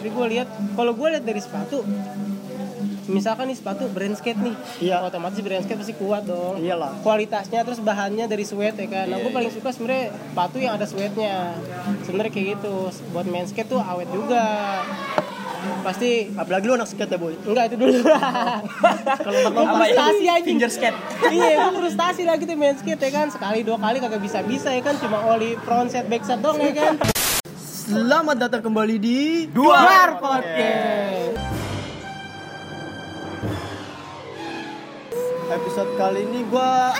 Jadi gue lihat, kalau gue lihat dari sepatu, misalkan nih sepatu brand skate nih, Iya. otomatis brand skate pasti kuat dong. Iyalah. Iya, Kualitasnya terus bahannya dari sweat ya kan. Nah, gue paling suka sebenarnya sepatu yang ada sweatnya. Sebenarnya kayak gitu. Buat main skate tuh awet juga. Pasti Apalagi lu anak skate ya boy. enggak itu dulu. Kalau Gue nggak Apa ya? frustasi anjing. Finger skate. iya gue frustasi lagi tuh main skate ya kan sekali dua kali kagak bisa bisa ya kan cuma oli front set back set dong ya kan Selamat datang kembali di Duar podcast episode kali ini gua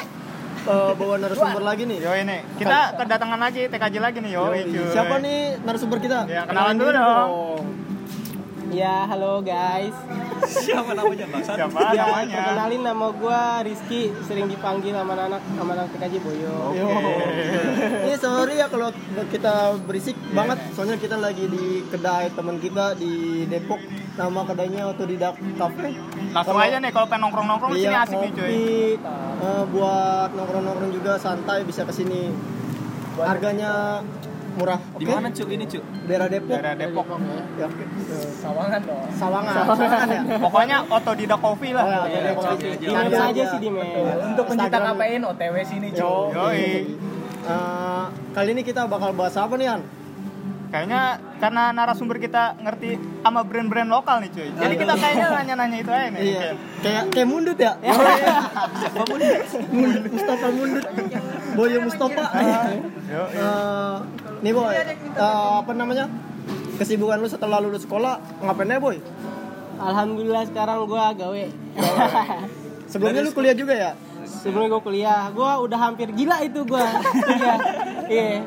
eh, bawa narasumber lagi nih. Yo ini, kita kedatangan lagi TKJ lagi nih yo. Yoi. cuy. Siapa nih narasumber kita? Ya, kenalan dulu diri dong. ya halo guys Siapa namanya Bang? Iya, Siapa ya namanya? perkenalin nama gue Rizky sering dipanggil sama anak sama anak TKJ Boyo Yo. Ini sorry ya kalau kita berisik Iya. banget, soalnya kita lagi di kedai teman kita di Depok. Nama kedainya Otodidak Cafe. Langsung Kalau- aja nih kalau pengen nongkrong-nongkrong di sini Iya, asik nih cuy. kopi, eh, buat nongkrong-nongkrong juga santai bisa kesini. Harganya murah, oke? Di mana Cuk ini Cuk? Daerah Depok. Daerah Depok. Ya, oke. Sawangan dong. Sawangan. Sawangan ya. Pokoknya otodidak coffee Oh, ya, lah. oke, Depok. cari aja. di mana Cari saja sih di mana Untuk pencinta Instagram. KPN OTW sini Yo. iya. Cuk. Yoi. Eh, kali ini kita bakal bahas apa nih, Han? Kayaknya karena narasumber kita ngerti sama brand-brand lokal nih cuy. Jadi kita kayaknya nanya-nanya itu aja nih. Iya. Kayak kayak mundut ya? Oh, iya. Siapa mundur? mundut Mustafa mundut. Boyo Mustafa. Iya. Iya. Yo. iya. Eh, nih boy, eh, apa namanya? Kesibukan lu setelah lulus sekolah ngapain ya boy? alhamdulillah sekarang gue gawe Sebelumnya lu kuliah juga ya? sebelum gue kuliah gue udah hampir gila itu gue iya iya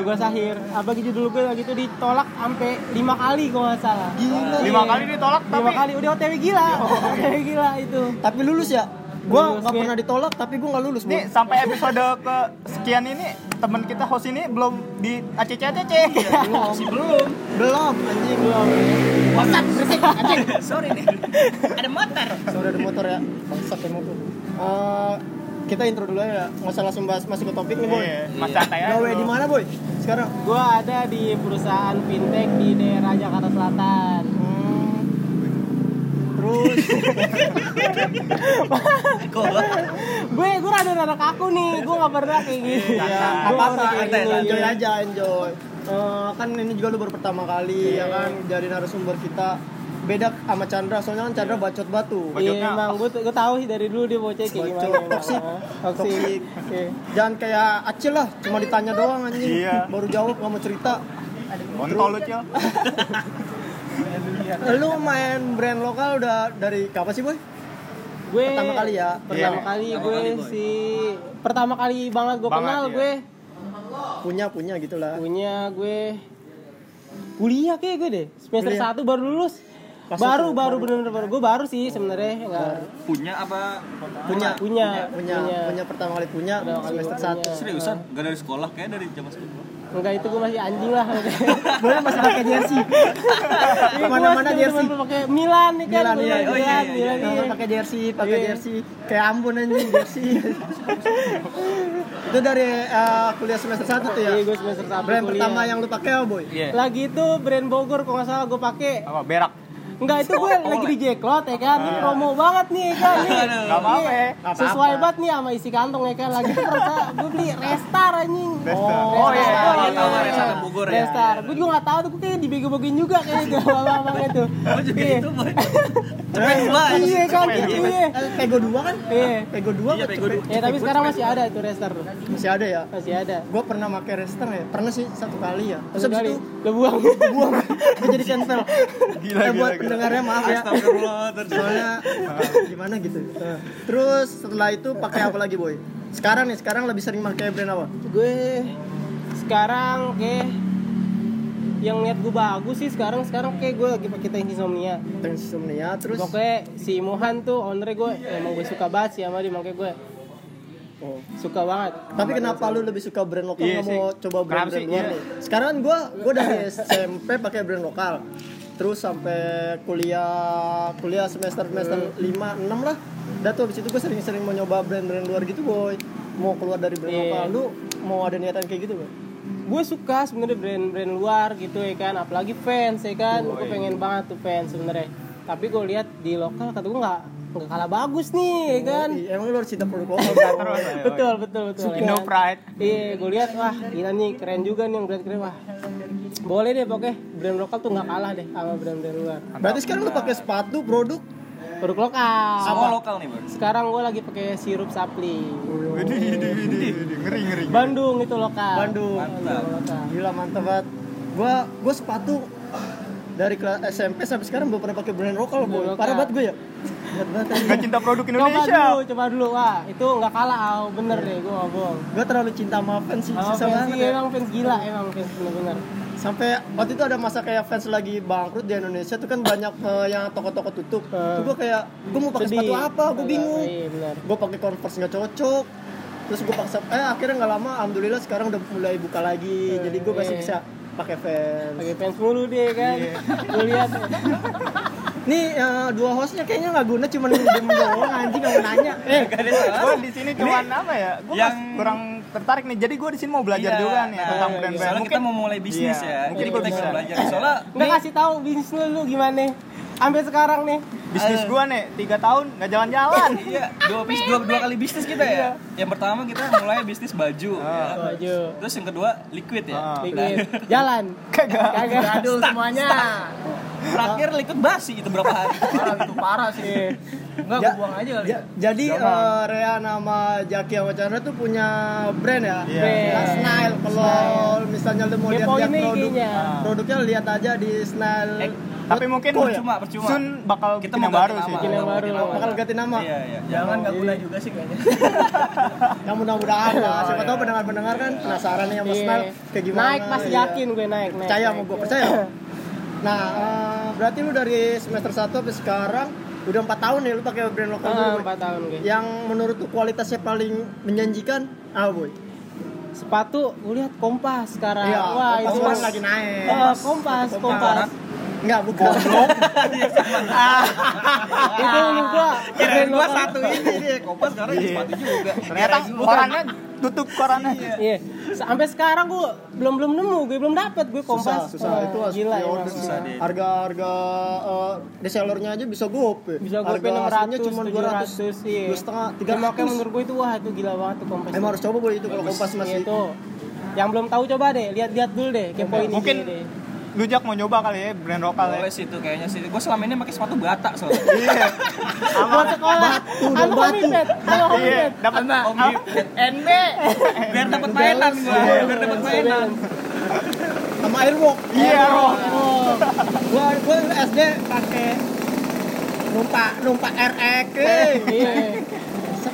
gue sahir apa gitu dulu gue gitu ditolak sampai lima kali gue nggak salah Iya. Gila. Lima kali ditolak lima tapi Iya. kali udah OTW gila OTW gila itu Tapi lulus ya? Gua Lulus, nggak Ge. pernah ditolak tapi gua nggak lulus. nih Boy. sampai episode ke sekian ini teman kita host ini belum di ACC ACC. Iya, Masih belum. Belum anjing belum. WhatsApp berisik anjing. Sorry nih. Ada motor. Sudah ada motor ya. Bangsat ya motor. Eh, kita intro dulu aja ya. Nggak usah langsung bahas masuk ke topik nih boy. Iya, Mas santai aja. Gawe dulu. di mana boy? Sekarang. gue ada di perusahaan fintech di daerah Jakarta Selatan Hmm. Terus gue gue rada rada kaku nih gue nggak pernah Iya. kayak gini ya Gua apa apa Iya, nggak pernah kayak gini. enjoy aja enjoy. Eh, kan ini juga lu baru pertama kali Iya. ya kan jadi narasumber kita beda sama Chandra soalnya kan Chandra bacot batu. Bacotnya Iya, emang gue gue tahu sih dari dulu dia bocah kayak gimana. Bacot, emang. toksik. toksik. Toksik. Oke. Jangan kayak Acil lah, cuma ditanya doang anjing. Iya. Baru jawab nggak mau cerita. Kontol lu Cil. Iya. Lu main brand lokal udah dari kapan sih boy? Gue Pertama kali ya? Pertama Iya. kali Pertama gue kali, Boy. si pertama kali banget gue Banget, kenal iya. gue Punya punya gitu gitulah. punya gue kuliah kayak gue deh semester Kuliah. satu baru lulus. Pas baru itu, baru bener-bener baru gue baru sih sebenarnya nggak Punya apa? Punya punya punya punya pertama kali punya Pertama kali semester punya. satu. Seriusan? Gak dari sekolah kayak dari zaman sekolah. Enggak itu gue masih anjing lah. Boy masih pakai jersey. Mana-mana jersey. pakai Milan nih kan. Milan, iya, Milan, oh iya, Milan, iya, Milan, Nah, iya. pakai jersey, pakai Iya. jersey kayak Ambon anjing jersey. itu dari eh, kuliah semester satu tuh ya. Iya, gue semester satu Brand kuliah. pertama yang lu pakai apa boy? Iya. Lagi itu brand Bogor kalau nggak salah gue pakai. Apa berak? Enggak itu gue lagi di Jacklot ya kan. Ini promo banget nih ya kan. Nih. Aduh. Gak apa-apa Iya. ya. Sesuai banget nih sama isi kantong ya kan. Lagi itu perasa gue beli Restar anjing. Restar. Oh, iya, Restar. iya, Iya, tahu, iya. Restar Bogor ya. Restar. Gue juga nggak tahu tuh, gue kayak dibego-begoin juga kayak itu abang-abangnya tuh. Gue juga Iya. gitu, Boy. Cepet Boy. Iya kan, iya. Eh, Pego 2 kan? Iya. Pego 2 Iya, Pego dua. Ya tapi sekarang masih ada tuh Restar. tuh. Masih ada ya? Masih ada. Gue pernah pakai rester ya, pernah sih satu kali ya. Terus Satu abis kali. itu Lu buang. buang, gue jadi cancel. Gila, Eh, gila, buat gila. pendengarnya maaf ya. Astagfirullah. Soalnya eh, gimana gitu. Eh, Terus setelah itu pakai apa lagi boy? Sekarang nih, sekarang lebih sering pakai brand apa? gue sekarang kayak yang lihat gue bagus sih sekarang sekarang kayak gue lagi pakai tank insomnia Insomnia, terus pokoknya si Mohan tuh ownernya gue emang gue suka banget sih sama dia makanya gue Oh. suka banget Tapi kenapa lu lebih suka brand lokal nggak Iya mau sih. coba brand, brand Kenapa sih? luar Iya. nih? Sekarang gue gue dari SMP pakai brand lokal, terus sampai kuliah kuliah semester semester Hmm. 5 6 lah. Dah tuh abis itu gue sering-sering mau nyoba brand-brand luar gitu boy. Mau keluar dari brand Iya. lokal lu mau ada niatan kayak gitu boy? gue suka sebenarnya brand-brand luar gitu ya kan apalagi fans ya kan gue pengen banget tuh fans sebenarnya tapi gue lihat di lokal kata gue nggak nggak kalah bagus nih ya kan Hmm. Iya, emang lu harus cinta produk lokal Terus, ayo, ayo. betul betul betul ya Indo kan? Pride. iya gue lihat wah gila nih keren juga nih yang brand keren wah boleh deh pokoknya brand lokal tuh nggak kalah deh sama brand-brand luar berarti sekarang lu pakai sepatu produk produk lokal Semua lokal nih bro. sekarang gue lagi pakai sirup sapli Widih, widih, widih, widih. ngeri ngeri. Bandung itu lokal Bandung Mantap. lokal gila mantap banget gua gua sepatu dari kelas SMP sampai sekarang belum pernah pakai brand lokal boy lokal. parah banget gua ya Berat banget anjing. Gak cinta produk coba Indonesia. dulu coba dulu wah itu nggak kalah Au. bener deh gue bohong gua terlalu cinta sama fans sih Emang susah fans banget iya, ya. emang fans gila emang fans bener-bener sampai waktu itu ada masa kayak fans lagi bangkrut di Indonesia tuh kan banyak eh, yang toko-toko tutup Eh. tuh gua kayak gua mau pakai Sedih. sepatu apa gua bingung Iya bener gue pakai converse nggak cocok terus gue paksa eh akhirnya nggak lama alhamdulillah sekarang udah mulai buka lagi jadi gue masih iya. bisa pakai fans pakai fans mulu deh kan Iya. Lu lihat nih eh, dua hostnya kayaknya nggak guna cuman diem doang anjing nggak mau nanya eh Iya. Gue di sini cuman apa ya? Gue yang- kurang tertarik nih. Jadi gue di sini mau belajar Iya, juga nih nah, tentang iya. brand-brand. Soalnya kita mau mulai bisnis Iya, ya. mungkin Jadi gua kita bisa bisa. belajar. Soalnya nggak kasih tahu bisnis lu, lu gimana ambil sekarang nih bisnis gue nih tiga tahun nggak jalan-jalan. Iya, dua, bis, dua, dua kali bisnis kita ya. Yang pertama kita mulai bisnis baju. ya. baju Terus yang kedua liquid ya. Ah. dikit jalan Kagak. kagak aduh semuanya Terakhir liquid basi itu berapa hari? parah sih nggak gue buang Iya, aja kali jadi eh, Rea nama Jaki sama Chandra tuh punya brand ya Iya. Nah, Snail kalau misalnya lu mau Dia lihat-lihat poinnya produk Ah, kayaknya. Iya. produknya lihat aja di Snail Eh, Tapi mungkin Oh, iya. Percuma, percuma. Sun bakal Kita bikin yang mau baru ganti sih. nama. bikin yang baru bakal ganti nama Iya, iya. Jangan nggak guna juga sih kayaknya. Ya mudah-mudahan Iya, lah. Siapa tahu pendengar-pendengar kan penasaran nih sama Iya. Snell kayak gimana. naik pasti Iya. yakin gue naik naik naik. Percaya Ah, sama gue, percaya. Nah, eh, berarti lu dari semester 1 sampai sekarang udah 4 tahun ya lu pakai brand lokal Ah, dulu. Boy. empat tahun gue Yang menurut tuh kualitasnya paling menjanjikan apa, Boy? sepatu gue lihat kompas sekarang Iya, Nah, wah kompas itu sekarang lagi naik. Ah, kompas kompas Enggak, bukan. itu menurut gue Kirain brand gua lokal. satu ini dia. Kopas Iya, sekarang jadi sepatu juga. Iya, Ternyata korannya tutup korannya. Iya, sampai sekarang gue belum belum nemu, gue belum dapet gue Susah, kompas. susah. Wah, itu ya, harus Oh, gila pre-order. emang. Susah deh. Harga-harga eh, resellernya aja bisa gope. Bisa gue Harga pengen 600, aslinya cuma 200, 700, iya. 2,5, Tiga makanya 300. menurut gue itu wah itu gila banget tuh kompas. Emang harus coba boy itu kalau kompas Iya, masih itu. Yang belum tahu coba deh, lihat-lihat dulu deh kepo ini. Mungkin gini deh. lu Jak mau nyoba kali ya brand lokal ya. Boleh sih itu kayaknya sih. Gue selama ini pakai sepatu bata soalnya. buat sekolah. Halo batu. Homipet, halo Iya, Homipet. dapat Om Gip. NB. Biar dapat mainan gua. Biar dapat mainan. sama airwalk. Iya, Roh. Oh. gua gua SD pakai numpak numpak RX. eh. Iya.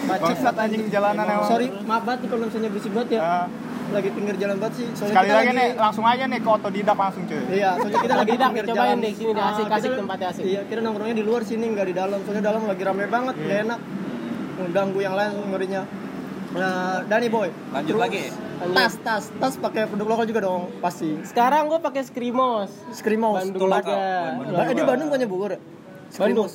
Bacot. Bangsat anjing jalanan emang. Sorry, maaf banget nih kalau misalnya berisik banget ya. Ah, Lagi pinggir jalan banget sih. Soalnya sekali kita lagi nih langsung aja nih ke otodidak langsung cuy. Iya, soalnya kita lagi Otodidak, pinggir dicobain jalan. deh, sini deh, Ah, asik, kita- asik, tempatnya asik. Iya, kita nongkrongnya di luar sini nggak di dalam. Soalnya dalam lagi rame banget, nggak Iya. enak. Mengganggu yang lain ngerinya. Nah, Dani boy. Lanjut terus lagi. Tas, tas, tas pakai produk lokal juga dong, pasti. Sekarang gue pakai Skrimos. Skrimos. Bandung lokal. ada. Bandung. Ba- eh, dia Oh, Bandung bukannya Bogor? ya? Bandung. Skrimos.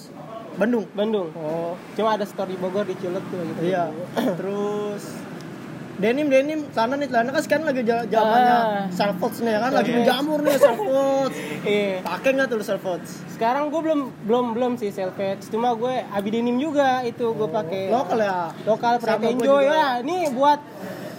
Bandung. Bandung. Oh, Cuma ada store di Bogor di Cilet tuh gitu. iya. Terus denim denim sana nih celana kan sekarang lagi ja- zamannya Ah. selfots nih ya kan lagi Iya. menjamur nih selfots. Iya. Pakai nggak tuh selfots? Sekarang gue belum belum belum sih selfage, cuma gue abidenim juga itu gue pakai. Lokal ya. Lokal Sama Pride gua Enjoy. juga. Wah, ini buat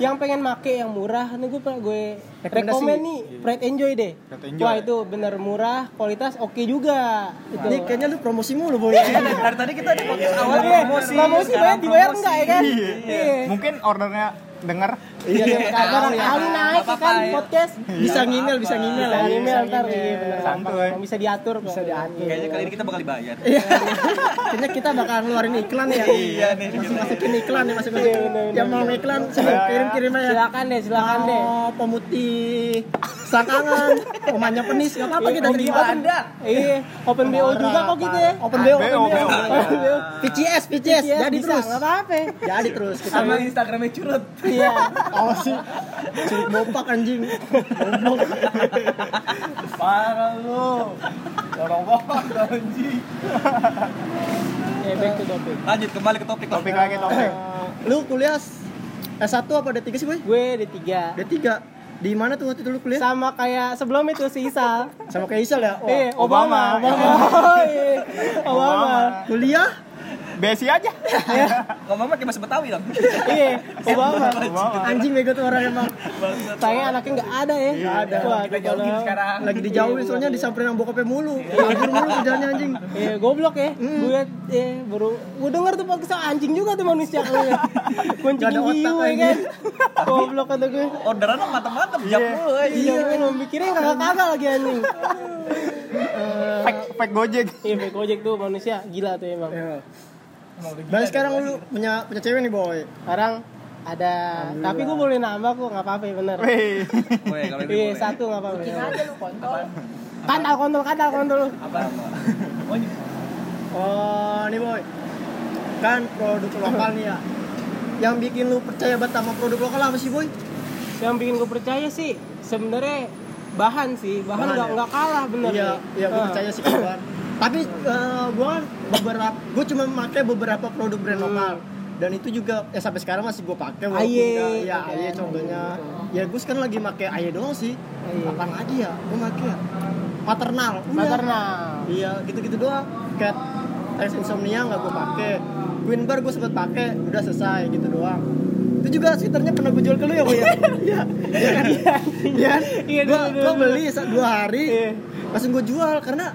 yang pengen make yang murah, nih gue gue Rekomendasi. rekomend nih Pride Enjoy deh. Pride Enjoy. Wah itu bener murah, kualitas oke juga. Itu. Ini kayaknya lu promosi mulu boy. Dari tadi kita di podcast awal Awalnya promosi, promosi. Iya, promosi sekarang banyak dibayar promosi. enggak ya kan? Iya. Mungkin ordernya denger Iya, Kadang kali naik iya. Nggak kan apa-apa, ya. podcast. Bisa ngimel, bisa ngimel Bisa ya. email ntar iya, bener. Santuy. Gampang. bisa diatur kok. Bisa diatur. Kayaknya kali ini kita bakal dibayar. Kayaknya kita bakal ngeluarin iklan ya. Iya nih. Masukin iklan nih, masukin. Yang mau iklan, suruh kirim-kirim aja. Silakan deh, silakan deh. Mau pemutih selangkangan, pemanya penis, nggak apa-apa kita terima. Iya, open BO juga kok gitu ya. Open BO, open BO, BO. BO. Open BO. VCS, VCS, Iya, jadi bisa, terus. nggak apa-apa. Jadi terus kita Sama Instagramnya curut. Iya. Oh sih, sulit bopak anjing. Goblok. Parah lu. Orang bohong anjing. Eh, back to topic. Lanjut kembali ke topik. topik lagi topik. Lu kuliah S1 apa D3 sih, Boy? Gue D3. D3. Di mana tuh waktu itu lu kuliah? Sama kayak sebelum itu si Isa. Sama kayak Isal ya? Wah. Eh, Obama, Obama. Oh, iya. Obama. Kuliah? Besi aja. Ngomong-ngomong kayak bahasa Betawi dong. Iya, Obama. Anjing bego tuh orang emang. Sayangnya anaknya nggak ada ya. Nggak ada. Wah, Kita jauhin sekarang. Lagi dijauhin soalnya disamperin sama bokapnya mulu. Kabur mulu kerjaannya anjing. Iya, goblok ya. Gue eh, baru gue denger tuh podcast anjing juga tuh manusia. Kuncing Nggak ada otak hiu ya lagi. kan. Goblok kata gue. Orderan mantep-mantep jam eh. dulu aja. Iya, gue mau mikirnya kagak-kagak lagi anjing. Fake, fake gojek. Iya, baik ojek tuh manusia gila tuh emang. Ya. Dan sekarang lu punya punya cewek nih boy. Sekarang ada, tapi gue boleh nambah kok, nggak apa-apa ya, bener. Weh. Weh, kalau ini Iya, boleh. satu nggak apa-apa. aja lu kontol. Kantal kontol, kantal kontol. lu. Oh, nih boy. Kan produk lokal nih ya. Yang bikin lu percaya banget sama produk lokal apa sih boy? Yang bikin gue percaya sih, sebenarnya bahan sih, bahan Bahan nggak ya? nggak kalah bener. Iya, iya gue Ah. percaya sih kawan. Tapi eh, gua gue beberapa, gue cuma pakai beberapa produk Hmm. brand lokal. Dan itu juga ya sampai sekarang masih gue pakai. walaupun Aye, nggak- ya kan? Aye contohnya. Ya gue sekarang lagi pakai Aye doang sih. Aye. Apaan lagi ya? Gue pakai ya. Maternal. udah. Maternal. Iya, gitu-gitu doang. Kayak Tex Insomnia nggak gue pakai. Queen Bar gue sempet pakai, udah selesai gitu doang. Itu juga sekitarnya pernah gue jual ke lu ya, Bu ya? Iya. Iya kan? Iya kan? Iya, Gua- dulu, gua dulu. beli sa- dua hari, langsung gue jual karena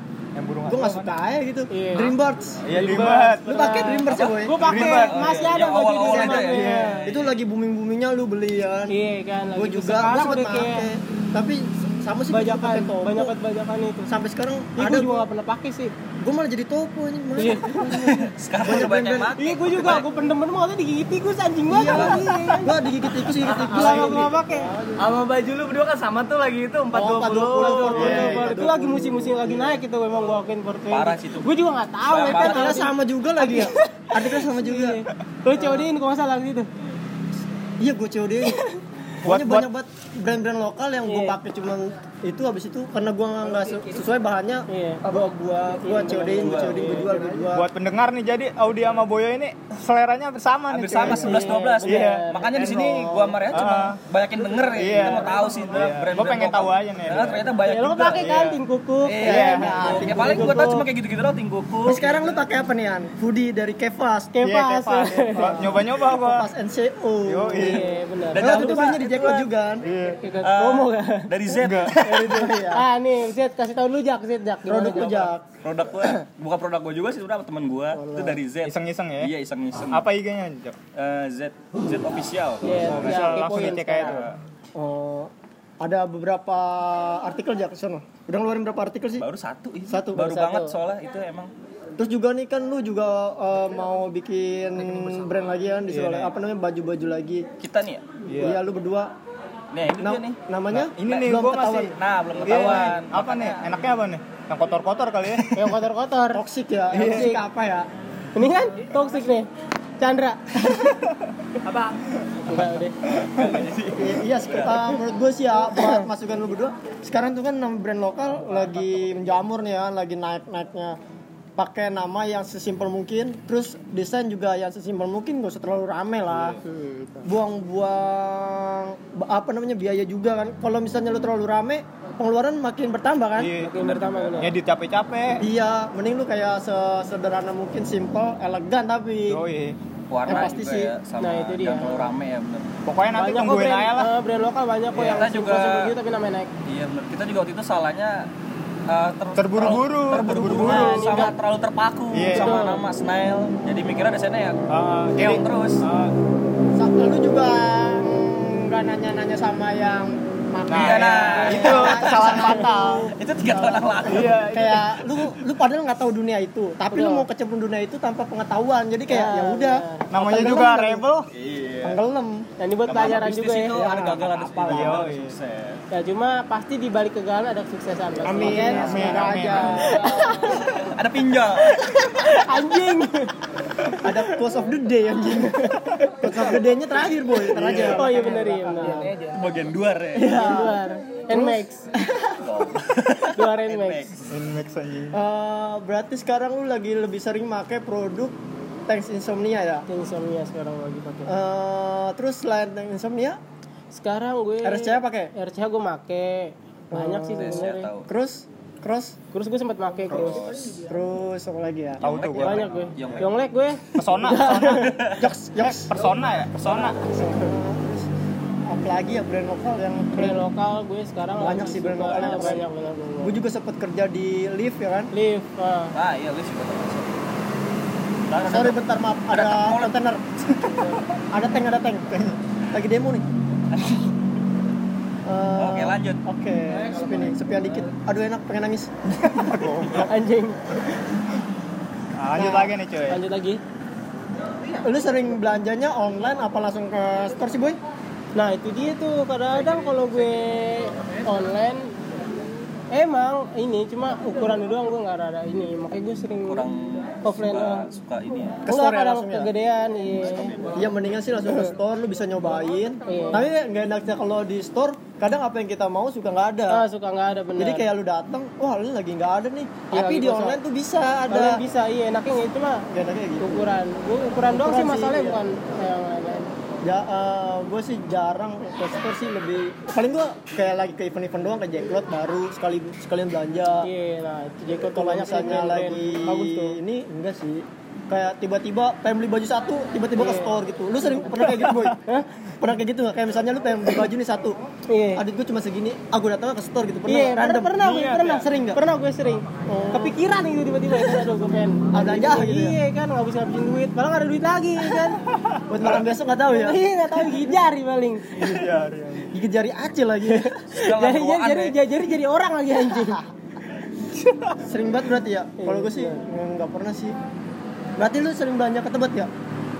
gue nggak suka aja gitu. Iya. Dreambirds. Iya ribet. Lu pakai Dreambirds ya, Boy? Gue pakai Ribet. masih Oh, iya. ada baju di Awal-awal sana. aja ya? Iya. Itu lagi booming-boomingnya lu beli ya kan? Iya kan, lagi Gue tuh juga, gue sekarang sempet udah kayak pakai. Tapi sama sih gua suka bajakan, pakai topo. banyak banget bajakan itu. Sampai sekarang Iya, ada gue juga gak pernah pakai sih. gue malah jadi topo ini malah. Iya. Sekarang udah banyak yang mati. Iya, gue juga, gue pendem pendem katanya digigiti gue anjing banget. Iya, Iya, gua digigit tikus, digigit tikus. Gila gak pernah pakai. Sama baju lu berdua kan sama tuh lagi itu 420. 420. Iya, iya, Itu lagi musim-musim lagi naik itu memang gue akuin portfolio. Parah sih itu. Gue juga gak tahu ya kan. Kan ada sama juga lagi Iya. ya. Adiknya sama juga. Lo codin kalau nggak salah gitu. Iya, gue COD. Buat- Pokoknya buat- banyak banget brand-brand lokal yang gue Iya. pakai cuman itu habis itu karena gue nggak se- sesuai bahannya Iya. gua gua gua COD gua COD gua jual gua jual Buat pendengar nih jadi Audi sama Boyo ini seleranya hampir sama nih. Oh, Hampir sama cuy. 11 12. Iya. Makanya di sini gua sama Rehan cuma Ah. banyakin denger ya. Iya. Kita mau tahu sih Iya. Gua pengen tahu aja nih. Nah, ternyata banyak Ya lo juga. pakai kan tim kuku. Iya. Iya. Ya paling gua tahu cuma kayak gitu-gitu doang ting kuku. Nah, sekarang lu pakai apa nih An? Hoodie dari Kevas, Iya, Kepas. kayak pas. Nyoba-nyoba gua. Kevas NCO. Yo, iya. Iya benar. Dan Lo waktu jangan itu lupa, belinya di Jeko juga kan? Iya. Ikut eh, promo kan. Dari Z. Iya. Ah nih, Zed kasih tahu lu Jak, Zed Jak. Produk rujak. Produk gua, bukan produk gua juga sih sebenarnya sama temen gua. Itu dari Z. Iseng-iseng ya. Iya, iseng-iseng. Apa IG-nya, Jok? Eh, Z Z official. Iya, Bisa ya, langsung kepoin dicek aja tuh. sekarang. Oh, ada beberapa artikel Jak di sana. Udah ngeluarin berapa artikel sih? Baru satu ini. Satu, baru, baru banget satu. soalnya itu emang Terus juga nih kan lu juga eh, mau bikin brand lagi kan di Surabaya. apa namanya baju-baju lagi. kita nih ya. Iya, lu berdua. Nih, ini Nam- dia nih. namanya? Ini nih Belum gua ketahuan. masih Nah, belum Iya, ketahuan. nih. apa nih? Enaknya apa nih? Yang kotor-kotor kali ya. Yang kotor-kotor. Iya. toxic ya. Toxic apa ya? Ini kan toxic nih. Chandra. Apa? Enggak udah. I- iya, sek- eh, menurut gue sih ya buat masukan lu berdua. Sekarang tuh kan nama brand lokal lagi menjamur nih ya, lagi naik-naiknya. Pakai nama yang sesimpel mungkin, terus desain juga yang sesimpel mungkin, gak usah terlalu rame Iya, lah. buang-buang ba- apa namanya biaya juga kan kalau misalnya lu terlalu rame pengeluaran makin bertambah kan Iya. Oke, pertama benar. Ngedit capek-capek. iya mending lu kayak sederhana mungkin simple elegan tapi Yoi. warna Eh, pasti juga sih. ya sama Nah, itu dia. jangan terlalu rame ya bener. Pokoknya nanti Banyak kok tungguin brand, aja lah. eh, brand lokal banyak kok Iya, yang kita juga- simpel-simpel gitu tapi namanya naik. Iya bener. Kita juga waktu itu salahnya eh, ter- Terburu-buru, terlalu- terburu-buru terburu-buru. sama terlalu terpaku Iya. sama Betul. nama Snail. Jadi mikirnya desainnya ya Ah, keong terus. ah, Sa- lu juga nggak nanya-nanya sama yang makan Iya, nah. itu kesalahan fatal. Itu tiga tahun yang lalu. Iya. kayak lu lu padahal nggak tahu dunia itu tapi lu Betul. mau kecemplung dunia itu tanpa pengetahuan jadi kayak Ya, ya udah Namanya Tenggelam juga kan lagi. rebel. tenggelam Dan Nah, ini buat pelajaran Bisnis juga ya. itu ada gagal ada Iya, gagal, ada iya. sukses. Ya cuma pasti di balik kegagalan ada kesuksesan pasti. amin Oke? amin, semoga amin. aja Ada pinjol. Anjing. ada close of the day anjing close of the day-nya terakhir boy terakhir Oh iya benar iya benar. Itu bagian duar ya. Yang Luar. Nmax. Luar Nmax. Inmax anjing. Eh, berarti sekarang lu lagi lebih sering pakai produk Thanks Insomnia ya? Yang insomnia sekarang lagi pakai. Eh, terus selain Thanks Insomnia, Sekarang gue RSCH pakai? RCH gue make. Banyak sih sebenarnya. tahu. Cross, cross, Terus gue sempat make terus. terus apa lagi ya? Tahu tuh gue. Banyak Iya. gue. Yonglek. Yonglek gue. Pesona, pesona. Yoks, yoks. Persona ya, persona. Terus apa lagi ya brand lokal yang Brand lokal gue sekarang Banyak lagi sih brand suka- lokalnya. Banyak banyak banyak. Gue juga sempat kerja di lift ya kan. Live. ah. Ah iya lu juga tahu. Sorry bentar maaf ada kontainer. ada tank ada tank. Lagi demo nih. Eh, Ah. Oke, lanjut. Oke, spinning, sepian dikit. Aduh enak, pengen nangis. Anjing. Nah, lanjut lagi nih cuy. Lanjut lagi. Lu sering belanjanya online apa langsung ke store sih boy? Nah itu dia tuh kadang-kadang kalau gue online emang ini cuma ukuran doang gue nggak ada ini makanya gue sering Kurang offline suka, doang. suka ini ya. Ke Enggak store ya kadang langsung ya? kegedean iya. Iya mendingan sih langsung ke store, lu bisa nyobain. Iya. Tapi nggak enaknya kalau di store, kadang apa yang kita mau suka nggak ada. Ah suka nggak ada bener. Jadi kayak lu dateng, wah lu lagi nggak ada nih. Iya, Tapi lagi di kosong. online tuh bisa ada. Online bisa iya enaknya nggak cuma Gak enaknya gitu. ukuran. Gue ukuran doang Ukuran sih sih, masalahnya iya. bukan yang lain. Ja, gue sih jarang ke store sih lebih paling gue kayak lagi ke event-event doang ke Jacklot baru sekali sekalian belanja. Iya nah itu jaket tuh Kalau banyak sih misalnya brand-brand. lagi bagus tuh. ini enggak sih kayak tiba-tiba pengen beli baju satu Iya. tiba-tiba ke store gitu lu sering pernah kayak gitu boy pernah kayak gitu nggak kayak misalnya lu pengen beli baju nih satu Iya. adit gue cuma segini aku datang ke store gitu pernah Iya, nggak? pernah, Random. pernah, gue, Niat pernah, ya? sering nggak? Pernah gue sering. Kepikiran gitu tiba-tiba ya, aduh gue pengen. Ah, belanja Oh. gitu ya? Iya kan, nggak bisa ngabisin duit, malah nggak ada duit lagi kan. buat malam besok nggak tahu ya Iya nggak tahu gigit jari paling. gigit jari acil lagi Jangan Jadi jadi bawaan jadi deh. jadi jadi, jadi orang lagi anjing. sering banget berarti ya Iya, kalau gue sih nggak pernah sih berarti lu sering belanja ke tebet ya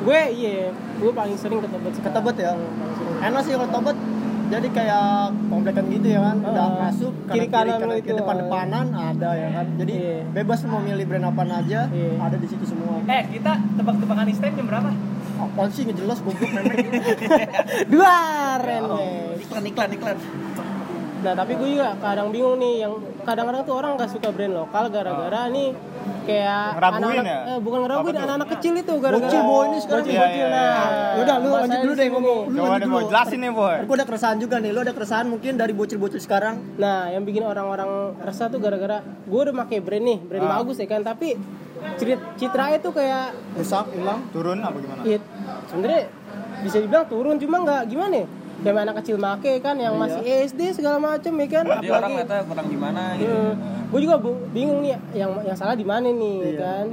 gue iya, gue paling sering ke tebet ke sekarang. tebet ya Paling sering. enak sih kalau tebet jadi kayak komplekan gitu ya kan udah Heeh. masuk Iya. Kiri kanan lu itu. depan depanan ada ya kan jadi Iya. bebas mau milih brand apa aja Iya. ada di situ semua Eh, kita tebak-tebakan Instagram jam berapa? apaan sih ngejelas goblok memang Dua rene. Ya Iklan iklan iklan. Nah tapi gue juga kadang bingung nih yang kadang-kadang tuh orang nggak suka brand lokal Ah. gara-gara nih kayak Ngeraguin anak-anak ya? eh, bukan ngeraguin Apa tuh? anak-anak kecil itu gara-gara Bocil, boy, ini sekarang bocil, iya, bocil, iya, nah. ya udah lu lanjut Bahasanya dulu di deh sini ngomong nih. lu Coba lanjut deh dulu mau jelasin nih boy. Ntar gua ada keresahan juga nih lu ada keresahan mungkin dari bocil-bocil sekarang Nah, yang bikin orang-orang resah tuh gara-gara gue udah pakai brand nih, Ah. brand bagus ya kan, tapi citra citranya tuh kayak rusak hilang Turun apa gimana? ya, sebenarnya bisa dibilang turun, cuma nggak gimana ya? Yang anak kecil make kan, yang masih Iya. SD segala macem ya kan, Jadi orang kata kurang gimana gitu. Iya. gue juga bu- bingung nih yang yang salah di mana nih Iya. ya kan?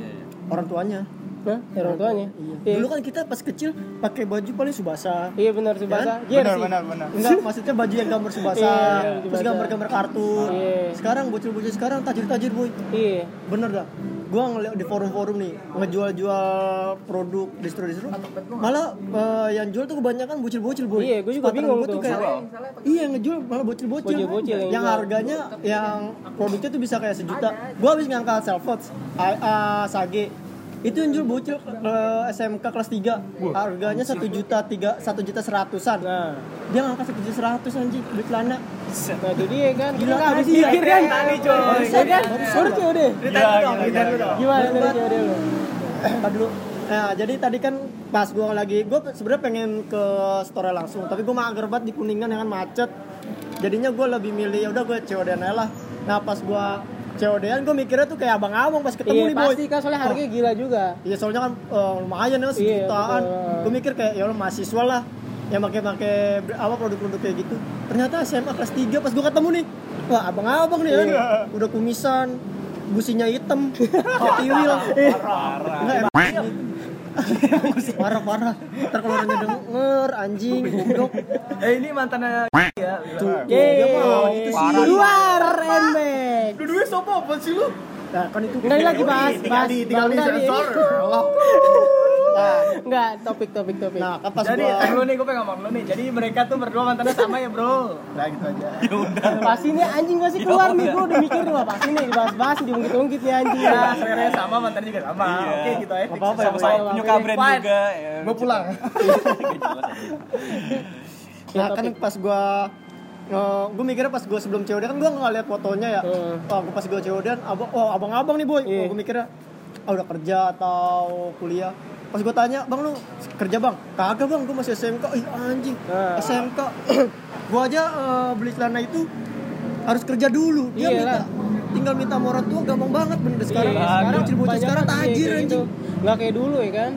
orang tuanya Nah, orang tuanya. Iya. Dulu kan kita pas kecil pakai baju paling Subasa. Iya benar kan? Subasa. Benar Jersey. benar benar. Enggak, maksudnya baju yang gambar Subasa, Iya, terus Tsubasa. gambar-gambar kartun. Iya. Sekarang bocil-bocil sekarang tajir-tajir, Boy. Iya. Bener dah. Gua ngeliat di forum-forum nih, ngejual-jual produk distro-distro. Malah eh, yang jual tuh kebanyakan bocil-bocil, Boy. Iya, gua juga Sepatu bingung gua tuh. kayak Iya, yang ngejual malah bocil-bocil. Bocil-bocil yang yang jual. harganya yang produknya tuh bisa kayak sejuta. Gua habis ngangkat self-watch, Sage. Itu yang jual bocil eh, ke SMK kelas 3 Harganya 1 juta 3, 1 juta seratusan Nah, Dia ngangkat 1 juta seratus anjing Beli celana nah itu dia kan. Gila, Kita habis iya. mikir kan. Tadi, coy. Barusan kan? Barusan udah. Gimana dari Banget. teori lu? Ntar Eh, dulu. Nah, jadi tadi kan pas gue lagi, gue sebenarnya pengen ke store langsung, tapi gue mager banget di kuningan dengan macet. Jadinya gue lebih milih, ya udah gue COD aja lah. Nah pas gue COD an, gue mikirnya tuh kayak abang-abang pas ketemu Iya nih boy. pasti kan soalnya harganya gila juga. Iya soalnya kan eh, lumayan ya sejutaan. betul. gue mikir kayak ya lo mahasiswa lah yang pakai-pakai ber- apa produk-produk kayak gitu. Ternyata SMA kelas 3 pas gue ketemu nih, wah abang-abang nih kan, udah kumisan, gusinya hitam, ketiwil. Parah, parah, parah. Ntar kalau orangnya eh. denger, anjing, Iya. goblok. Eh, ini mantannya ya. Tuh, Yeay, dia mah gitu sih. luar endmek. Dua-duanya sopo apa sih lu? Nah, kan itu Nggak, ini lagi bahas, bahas. tinggal di Bangga nih. sensor. Allah. Nah, Enggak, topik topik topik. nah, kan pas Jadi, gua eh, lu nih, gue pengen ngomong lu nih. Jadi mereka tuh berdua mantannya sama ya, bro. Nah, gitu aja. pasti nih anjing pasti keluar nih, gua udah mikir wah pasti nih dibahas-bahas diungkit-ungkit nih anjing. Iya, Nah, seleranya sama, mantannya juga sama. Iya. Oke, gitu aja. apa-apa ya, Sama-sama Boy. penyuka brand Fine. juga. ya. gue pulang nah kan pas gue gue mikirnya pas gue sebelum COD kan gue nggak lihat fotonya ya Heeh. oh, pas gue COD abang oh abang-abang nih boy Iya. gue mikirnya ah, udah kerja atau kuliah pas gue tanya bang lu kerja bang kagak bang gue masih SMK ih anjing SMK gue aja eh, beli celana itu harus kerja dulu dia minta Iyalah. tinggal minta sama orang tua gampang banget bener sekarang Iya, sekarang bocil banyak sekarang kan sih tajir kayak gitu. anjing nggak kayak dulu ya kan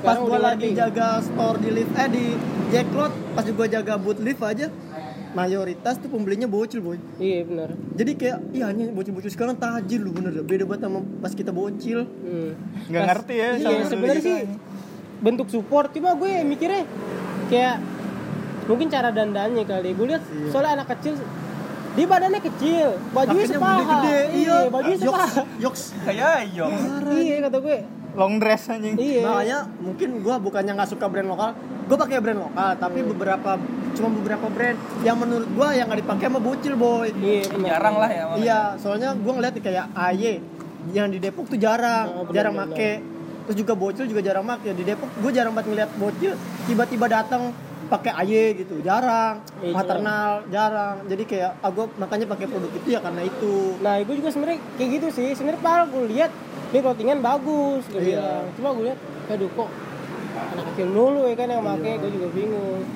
pas Sekarang gue udah lagi ngerti. jaga store di lift eh di jacklot pas gue jaga boot lift aja mayoritas tuh pembelinya bocil boy iya benar jadi kayak iya hanya bocil-bocil sekarang tajir lu bener dah. beda banget sama pas kita bocil hmm. Nggak Pas- ngerti ya sama iya dulu sebenarnya gitu. sih bentuk support cuma gue mikirnya kayak mungkin cara dandannya kali gue lihat soalnya anak kecil dia badannya kecil bajunya Pakainya sepaha gede-gede, iya bajunya yoks, sepaha yoks. Kayak "Ya, ayo. iya kata gue Long dress anjing. iya makanya mungkin gua bukannya nggak suka brand lokal gua pakai brand lokal tapi Iya. beberapa cuma beberapa brand yang menurut gua yang nggak dipakai sama bocil boy iya benar. Jarang lah ya. Bang. Iya, soalnya gue ngeliat nih kayak AY yang di Depok tuh jarang, Oh, bener, jarang bener. make. Terus juga bocil juga jarang make. Ya, Di Depok gue jarang banget ngeliat bocil tiba-tiba datang pakai AY gitu, jarang. Iya, Maternal jarang. Jadi kayak ah gue makanya pakai produk itu ya karena itu. Nah, gue juga sebenarnya kayak gitu sih. Sebenarnya padahal gue lihat dia clothingan bagus, gue Iya. bilang. Cuma gue lihat, aduh kok anak kecil dulu ya kan yang make, gue juga bingung.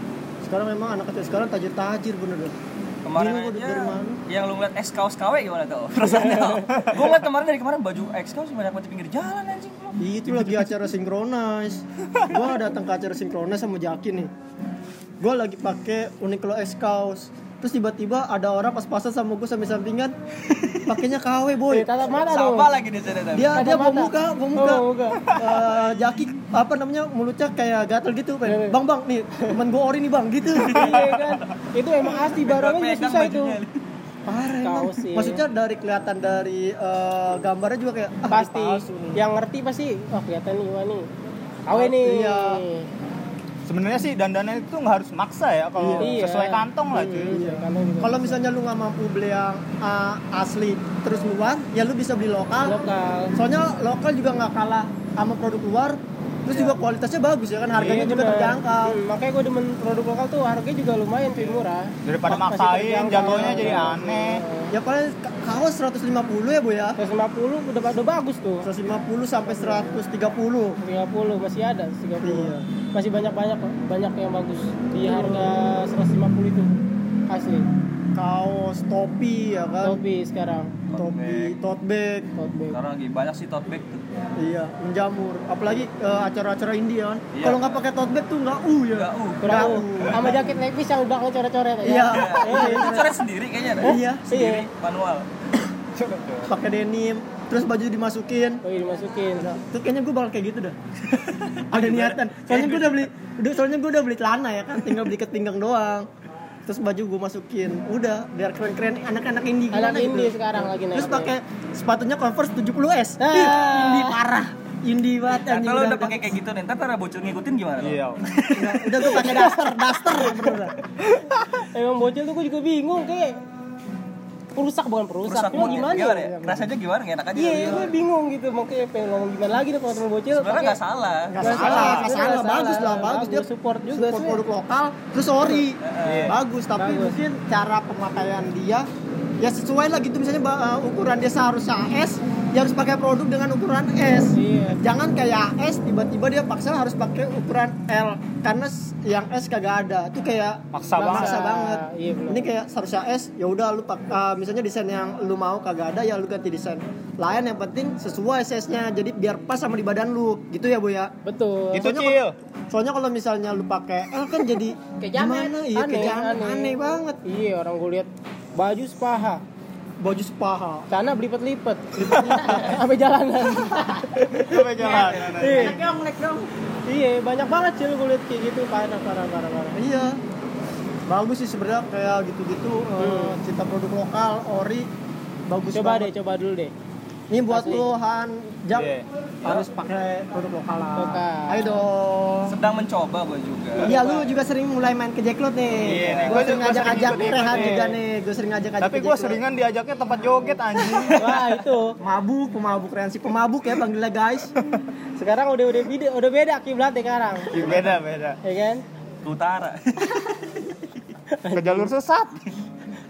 Sekarang memang anak kecil sekarang tajir-tajir bener deh. Kemarin Dulu gua aja dari mana? yang lu ngeliat X kaos KW gimana tuh? Perasaannya? Gua ngeliat kemarin dari kemarin baju X kaos banyak banget di pinggir jalan anjing. Itu lagi acara sinkronize. gua datang ke acara sinkronize sama Jaki nih. Gua lagi pakai Uniqlo S kaos. Terus tiba-tiba ada orang pas-pasan sama gue samping-sampingan pakainya KW boy. Eh, tatap mata dong. Sama lagi di sana tadi. Dia Tatap dia mau mata. muka, mau Oh, muka. mau muka. Eh, Jaki apa namanya mulutnya kayak gatel gitu, Iya, iya. pengen, Bang, bang, nih temen gue ori nih, Bang, gitu. Iya kan? Itu emang asli barangnya juga Pegang susah itu. bajunya. Parah emang. Kaos iya. sih. Maksudnya dari kelihatan dari eh, gambarnya juga kayak ah, ini Pasti palsu nih. yang ngerti pasti, oh kelihatan nih wah nih. Awe nih. Hmm, Iya. Sebenarnya sih dandannya itu nggak harus maksa ya kalau Iya. sesuai kantong lah cuy. Iya, kantong juga. Kalau misalnya lu nggak mampu beli yang uh, asli terus luar, ya lu bisa beli lokal. lokal. Soalnya lokal juga nggak kalah sama produk luar, terus juga kualitasnya bagus ya kan, harganya Iya, juga bener. terjangkau. Hmm, makanya gue demen produk lokal tuh harganya juga lumayan cuy murah. Daripada Masih maksain terjangkau. jatuhnya jadi Iya. aneh. Ya paling ka- kaos 150 ya bu ya, 150 udah udah bagus tuh. 150 sampai 130. 30 masih ada 30 Iya. masih banyak banyak banyak yang bagus di harga 150 itu asli Kaos, topi ya kan, topi sekarang topi, tote bag, tote bag Sekarang lagi banyak sih tote bag tuh. iya menjamur. Apalagi uh, acara-acara India kan, Iya. kalau nggak pakai tote bag tuh nggak uh ya. Nggak uh. kurang Nggak uh. sama jaket lepis yang belakang coret-coret ya Iya. Itu coret sendiri kayaknya. ada. Iya. Sendiri manual. Nah, Pakai denim, terus baju dimasukin. oh iya dimasukin Terus kayaknya gue bakal kayak gitu dah. Oh, Ada niatan. Soalnya gue udah beli, udah, soalnya gue udah beli celana ya kan, tinggal beli ikat pinggang doang. Terus baju gue masukin, udah biar keren-keren anak-anak indie gimana anak indie gitu. sekarang lagi naik ya? Terus pakai sepatunya Converse 70S. Ah. Nah, Ih, indie parah. Indie banget Kata anjing, lu udah pakai kayak gitu nih, ntar ada bocil ngikutin gimana? tuh? Iya. Udah, udah gue pakai daster, daster bener. emang bocil tuh gue juga bingung kayak perusak bukan perusak, Rusak cuma mood gimana Gimana ya? ya? Rasanya gimana? Gak enak aja. iya kali ya. gue bingung gitu makanya pengen ngomong gimana lagi deh kalau temen bocil Sebenarnya pakai- nggak salah. Gak Iya. Nggak salah, salah, gak salah, nggak bagus salah. lah, bagus dia Bagus, support juga support sih. Iya. produk lokal, terus sorry, bagus tapi Bagus. mungkin cara pemakaian dia ya sesuai lah gitu misalnya ba- uh, ukuran dia seharusnya S, dia harus pakai produk dengan ukuran S, Iya. jangan kayak S tiba-tiba dia paksa harus pakai ukuran L karena s- yang S kagak ada, itu kayak Maksa banget. banget. Iya, benar. Ini kayak seharusnya S, ya udah lu pak- uh, misalnya desain yang lu mau kagak ada ya lu ganti desain lain yang penting sesuai size-nya jadi biar pas sama di badan lu gitu ya bu ya betul Itu Soalnya cil. Soalnya kalau misalnya lu pakai L kan jadi Kayak jamet, gimana? Iya, kayak jamet. aneh, banget. iya orang gue lihat baju sepaha Baju sepaha. karena belipet-lipet sampai jalanan Sampai jalan. iya Iya, banyak banget cil gue liat kayak gitu parah parah parah parah Iya. Bagus sih sebenarnya kayak gitu-gitu eh, cinta produk lokal, ori bagus Hmm. coba deh banget. coba dulu deh Ini buat lu Han Jack Iya. harus pakai produk lokal lah. Lokal. Ayo dong. Sedang mencoba gue juga. Iya, lu juga sering mulai main ke Jacklot nih. Iya, nih, Gue gua sering juga ngajak-ngajak sering ikut-ikut Rehan nih. juga nih. Gue sering ngajak-ngajak Tapi ke gue Jack Clot. seringan diajaknya tempat joget anjing. wah itu mabuk, pemabuk Rehan si pemabuk ya panggilnya guys. sekarang udah udah beda udah beda ya kiblatnya sekarang Iya, beda beda. ya kan Ke utara. Ke jalur sesat.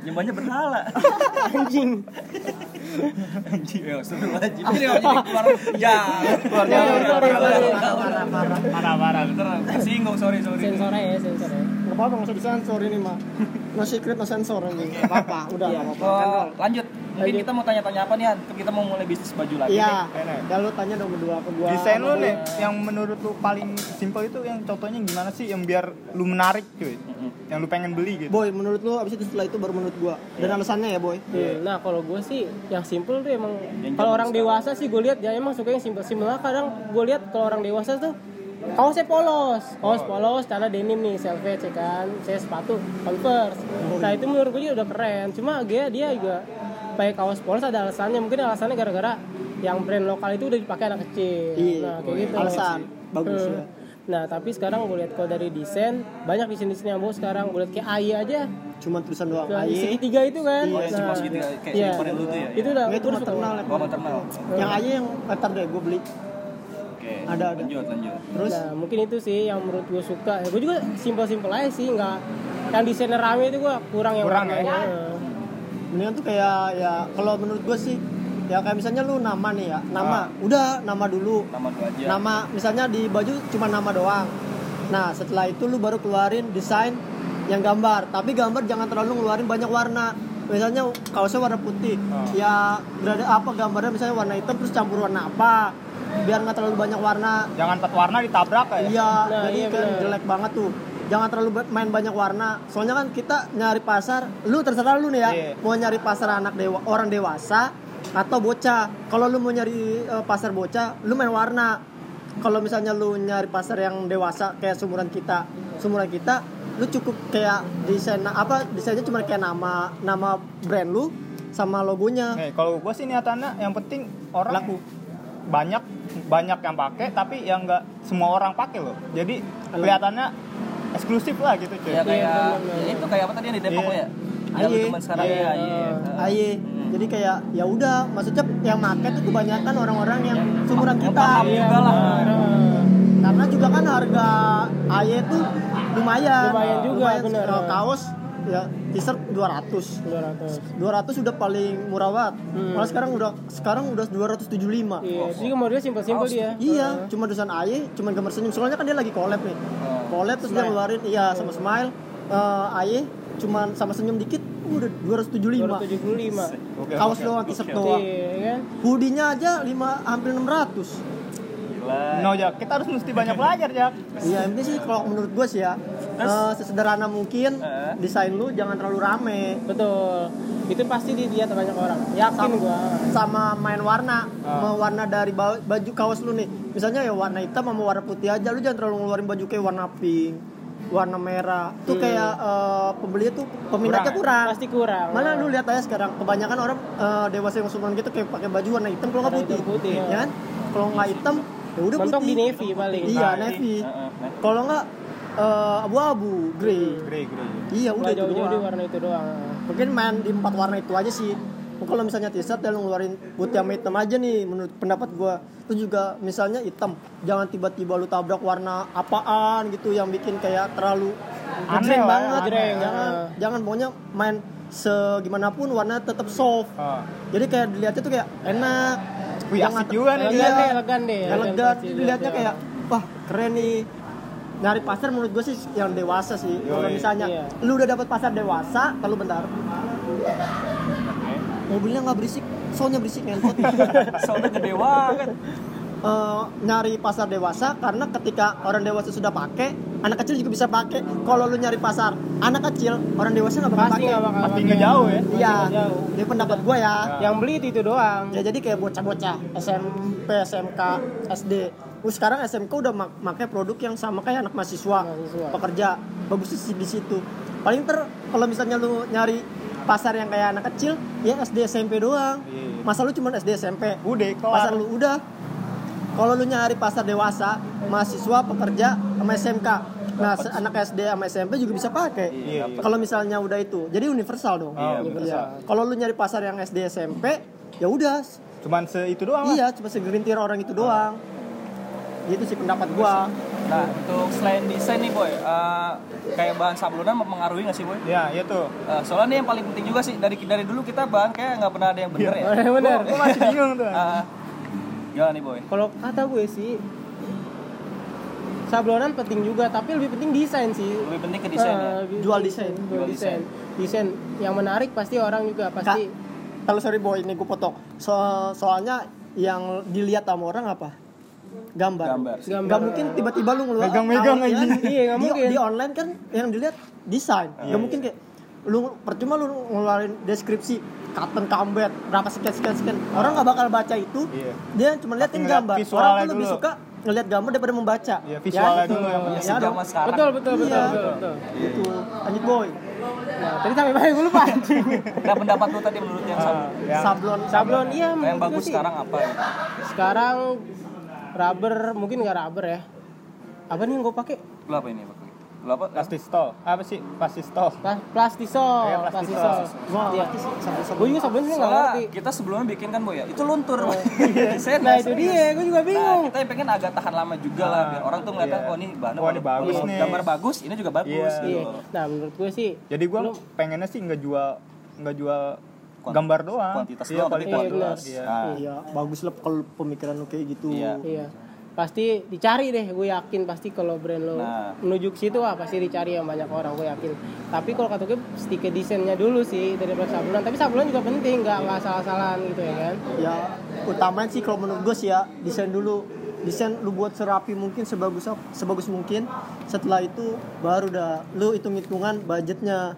Nyembahnya berhala. anjing Anjing, ya seru aja. Ini apa jadi keluar jalan. Keluar Jangan, sorry, sorry. Parah parah. Singgung, sorry, sorry. Sensornya ya, sensornya. Nggak apa-apa, nggak usah disensor ini mah. No secret, no sensor anjing. Nggak apa-apa, udah nggak apa-apa. Oh, lanjut. Mungkin kita mau tanya-tanya apa nih, Han? Kita mau mulai bisnis baju lagi. Iya, nih. ya lu tanya dong berdua ke gua. Desain sama lu gua. nih yang menurut lu paling simple itu yang contohnya gimana sih yang biar lu menarik cuy. Yang lu pengen beli gitu. Boy, menurut lu abis itu setelah itu baru menurut gua. Dan alasannya ya, Boy. Hmm, nah kalau gue sih yang simple tuh emang Yang kalau zaman orang dewasa sih gue lihat ya emang suka yang simple simple lah kadang gue lihat kalau orang dewasa tuh kaosnya polos kaos Oh. polos karena denim nih selvedge ya kan saya sepatu converse Oh, nah iya. itu menurut gue juga udah keren cuma dia dia juga pakai kaos polos ada alasannya mungkin alasannya gara-gara yang brand lokal itu udah dipakai anak kecil Iya. nah kayak gitu Alasan. Bagus Hmm. ya. nah tapi sekarang gue lihat kalau dari desain banyak desain-desain yang bagus sekarang gue lihat kayak AI aja Cuma tulisan doang. Nah, di Aye. segitiga itu kan. Iya, Nah, semua Iya. segitiga, kayak iya. sniper lu tuh ya, Itu udah Nggak, itu terus maternal ya. Gua maternal. Yang aja yang ntar deh gua beli. Oke. Ada, ada. Lanjut, lanjut. Terus Nah, mungkin itu sih yang menurut gue suka. Ya, gue juga simpel-simpel aja sih, nggak yang desainer rame itu gue kurang yang Kurang ya? Iya. warnanya. mendingan tuh kayak ya kalau menurut gua sih ya kayak misalnya lu nama nih ya, nama. Udah nama dulu. Nama dua aja. Nama misalnya di baju cuma nama doang. Nah, setelah itu lu baru keluarin desain yang gambar, tapi gambar jangan terlalu ngeluarin banyak warna. Misalnya kaosnya warna putih, ya berada apa gambarnya misalnya warna hitam terus campur warna apa, biar nggak terlalu banyak warna. Jangan empat warna ditabrak kayak. Iya, Nah, jadi iya kan benar. jelek banget tuh. Jangan terlalu ba- main banyak warna. Soalnya kan kita nyari pasar, lu terserah lu nih ya, Iya. mau nyari pasar anak dewa, orang dewasa atau bocah. Kalau lu mau nyari eh, pasar bocah, lu main warna. Kalau misalnya lu nyari pasar yang dewasa kayak sumuran kita, sumuran kita, lu cukup kayak desain apa desainnya cuma kayak nama nama brand lu sama logonya. Nih, kalau gua sih niatannya yang penting orang Laku. banyak banyak yang pakai tapi yang nggak semua orang pakai loh. Jadi kelihatannya eksklusif lah gitu cuy. Iya, Ya kayak bener, ya, itu kayak apa tadi yang di Depok Iya. lo ya? Yang lu Aye. teman sekarang ya, aye. Aye, jadi kayak ya udah, maksudnya yang make tuh kebanyakan orang-orang yang sumuran Yang kita. paham iya. juga lah. Nah, Karena juga kan harga Aye tuh lumayan. Lumayan juga, bener. eh, kaos ya t-shirt 200. Dua ratus. 200 udah paling murah banget. Malah sekarang udah sekarang udah 275. Hmm. Iya, jadi modelnya simpel-simpel dia. Iya, cuma desain Aye, cuma gambar senyum. Soalnya kan dia lagi collab Oh. nih. Collab terus dia ngeluarin iya sama Smile. Eh Aye cuman sama senyum dikit udah 275. 275. Kaos doang, t-shirt doang. Iya kan? Hoodie-nya aja 5 hampir 600. Gila. No, Jak. Kita harus mesti banyak belajar, Jak. Iya, ini sih kalau menurut gue sih ya, eh, sesederhana mungkin Eh? desain lu jangan terlalu rame Betul. Itu pasti dilihat banyak orang. Yakin gue. sama main warna, Ah. mau warna dari ba- baju kaos lu nih. Misalnya ya warna hitam sama warna putih aja, lu jangan terlalu ngeluarin baju kayak warna pink, warna merah. Itu kayak eh, pembeli tuh peminatnya kurang. Pasti Hmm. kurang. Malah lu lihat aja sekarang kebanyakan orang eh, dewasa yang sumuran gitu kayak pakai baju warna hitam kalau nggak Warna putih. hitam putih, ya ya. kan? Kalau nggak hitam ya udah Mentok putih. di navy paling. Iya, navy. Kalau nggak eh, abu-abu, grey. Grey, grey. Iya, udah Nggak itu jauh-jauh di doang. warna itu doang. Mungkin main di empat warna itu aja sih. Kalau misalnya t-shirt ya lu ngeluarin putih sama hitam aja nih menurut pendapat gua. Terus juga misalnya hitam, jangan tiba-tiba lu tabrak warna apaan gitu yang bikin kayak terlalu Aneh ngejreng lah ya, banget. aneh. Jangan, jangan pokoknya main segimanapun warna tetap soft. Ah. Jadi kayak dilihatnya tuh kayak enak. Wih, Jangan asik ter- juga nih, Elegan Iya. deh, elegan deh. elegan pasti dilihatnya dilihat, ya. kayak wah keren nih nyari pasar menurut gue sih yang dewasa sih kalau misalnya Iya. lu udah dapat pasar dewasa kalau bentar mobilnya nggak berisik soalnya berisik ngentot Soalnya gede banget. Eh, nyari pasar dewasa karena ketika orang dewasa sudah pakai anak kecil juga bisa pakai kalau lu nyari pasar anak kecil orang dewasa nggak bakal Pasti pakai nggak bakal Tapi pakai. ngejauh ya. iya nggak jauh. ini pendapat gue ya Yang beli itu, itu doang. ya jadi kayak bocah-bocah SMP SMK SD Terus sekarang SMK udah mak pakai produk yang sama kayak anak mahasiswa, Mahasiswa. pekerja bagus sih di situ paling ter kalau misalnya lu nyari pasar yang kayak anak kecil ya SD SMP doang Iya. masa lu cuma SD SMP Udah, kelar. pasar lu udah kalau lu nyari pasar dewasa mahasiswa pekerja sama SMK nah se- anak SD sama SMP juga bisa pakai Iya, dapet. kalau misalnya udah itu jadi universal dong Iya, Iya. kalau lu nyari pasar yang SD SMP ya udah Cuman se itu doang lah. iya cuma segelintir orang itu doang gitu sih pendapat gua Nah, untuk selain desain nih boy, eh, kayak bahan sablonan mempengaruhi nggak sih boy? Ya, iya tuh. Eh, soalnya nih yang paling penting juga sih dari dari dulu kita bahan kayak nggak pernah ada yang bener ya. Bener, bener. Gue masih bingung tuh. Eh, gimana nih boy? Kalau kata gue sih sablonan penting juga, tapi lebih penting desain sih. Lebih penting ke desain ya. Eh, lebih Jual penting desain. Jual Jual desain. Desain yang menarik pasti orang juga pasti Kalau sorry boy ini gue potong. So, soalnya yang dilihat sama orang apa? Gambar. Gambar. Gambar. Gak mungkin tiba-tiba lu ngeluarin Megang-megang tahu, ya anjing. kan? Iya, nggak Di- mungkin. Di online kan yang dilihat desain. Iya. Gak mungkin kayak lu percuma lu ngeluarin deskripsi cotton combat berapa sekian sekian sekian orang nggak bakal baca itu Iya. dia cuma liatin ngeliat gambar orang visualnya tuh lebih dulu. suka ngeliat gambar daripada membaca Iya, visualnya dulu yang Ya, penting. Ya, sejaman dong. sekarang. betul betul betul Iya. betul. betul. gitu anjing boy Nah, tadi sampai mana gue lupa. anjing. Nah, pendapat lu tadi menurut yang sab- Yang sablon sablon iya Nah, yang menurut gue bagus sih. sekarang apa? ya? Sekarang rubber mungkin nggak rubber ya. Apa nih yang gue pakai? Lu apa ini Pak? Lu apa? pastistol. Apa sih? Pastistol. Pla- Plastisol. Iya, plastisol. Plastisol. Iya. Gue juga sablonan sih nggak Soalnya ngerti. kita sebelumnya bikin kan boy ya, itu luntur. Boy. Desain Nah nggak itu serius. dia, gue juga Nah, bingung. kita yang pengen agak tahan lama juga lah biar orang tuh ngeliatnya Iya. oh ini bahannya Oh, ini pada- bagus oh, nih. Gambar bagus, ini juga bagus Iya. gitu. Iya. loh. Nah menurut gue sih, Jadi gue pengennya sih nggak jual nggak jual Kuant- gambar doang. kuantitas Iya, doang, tapi kualitas kuantitas. doang. Iya. Nah, iya bagus lah kalau pemikiran lu kayak gitu Iya. iya pasti dicari deh. Gue yakin pasti kalau brand lo Nah. menuju ke situ wah pasti dicari yang banyak orang. Gue yakin. Tapi kalau kata gue stick ke desainnya dulu sih daripada sablon. Tapi sablon juga penting, nggak nggak salah-salahan gitu ya kan. ya utamanya sih kalau menurut gue sih ya desain dulu desain lu buat serapi mungkin sebagus ap- sebagus mungkin setelah itu baru dah lu hitung hitungan budgetnya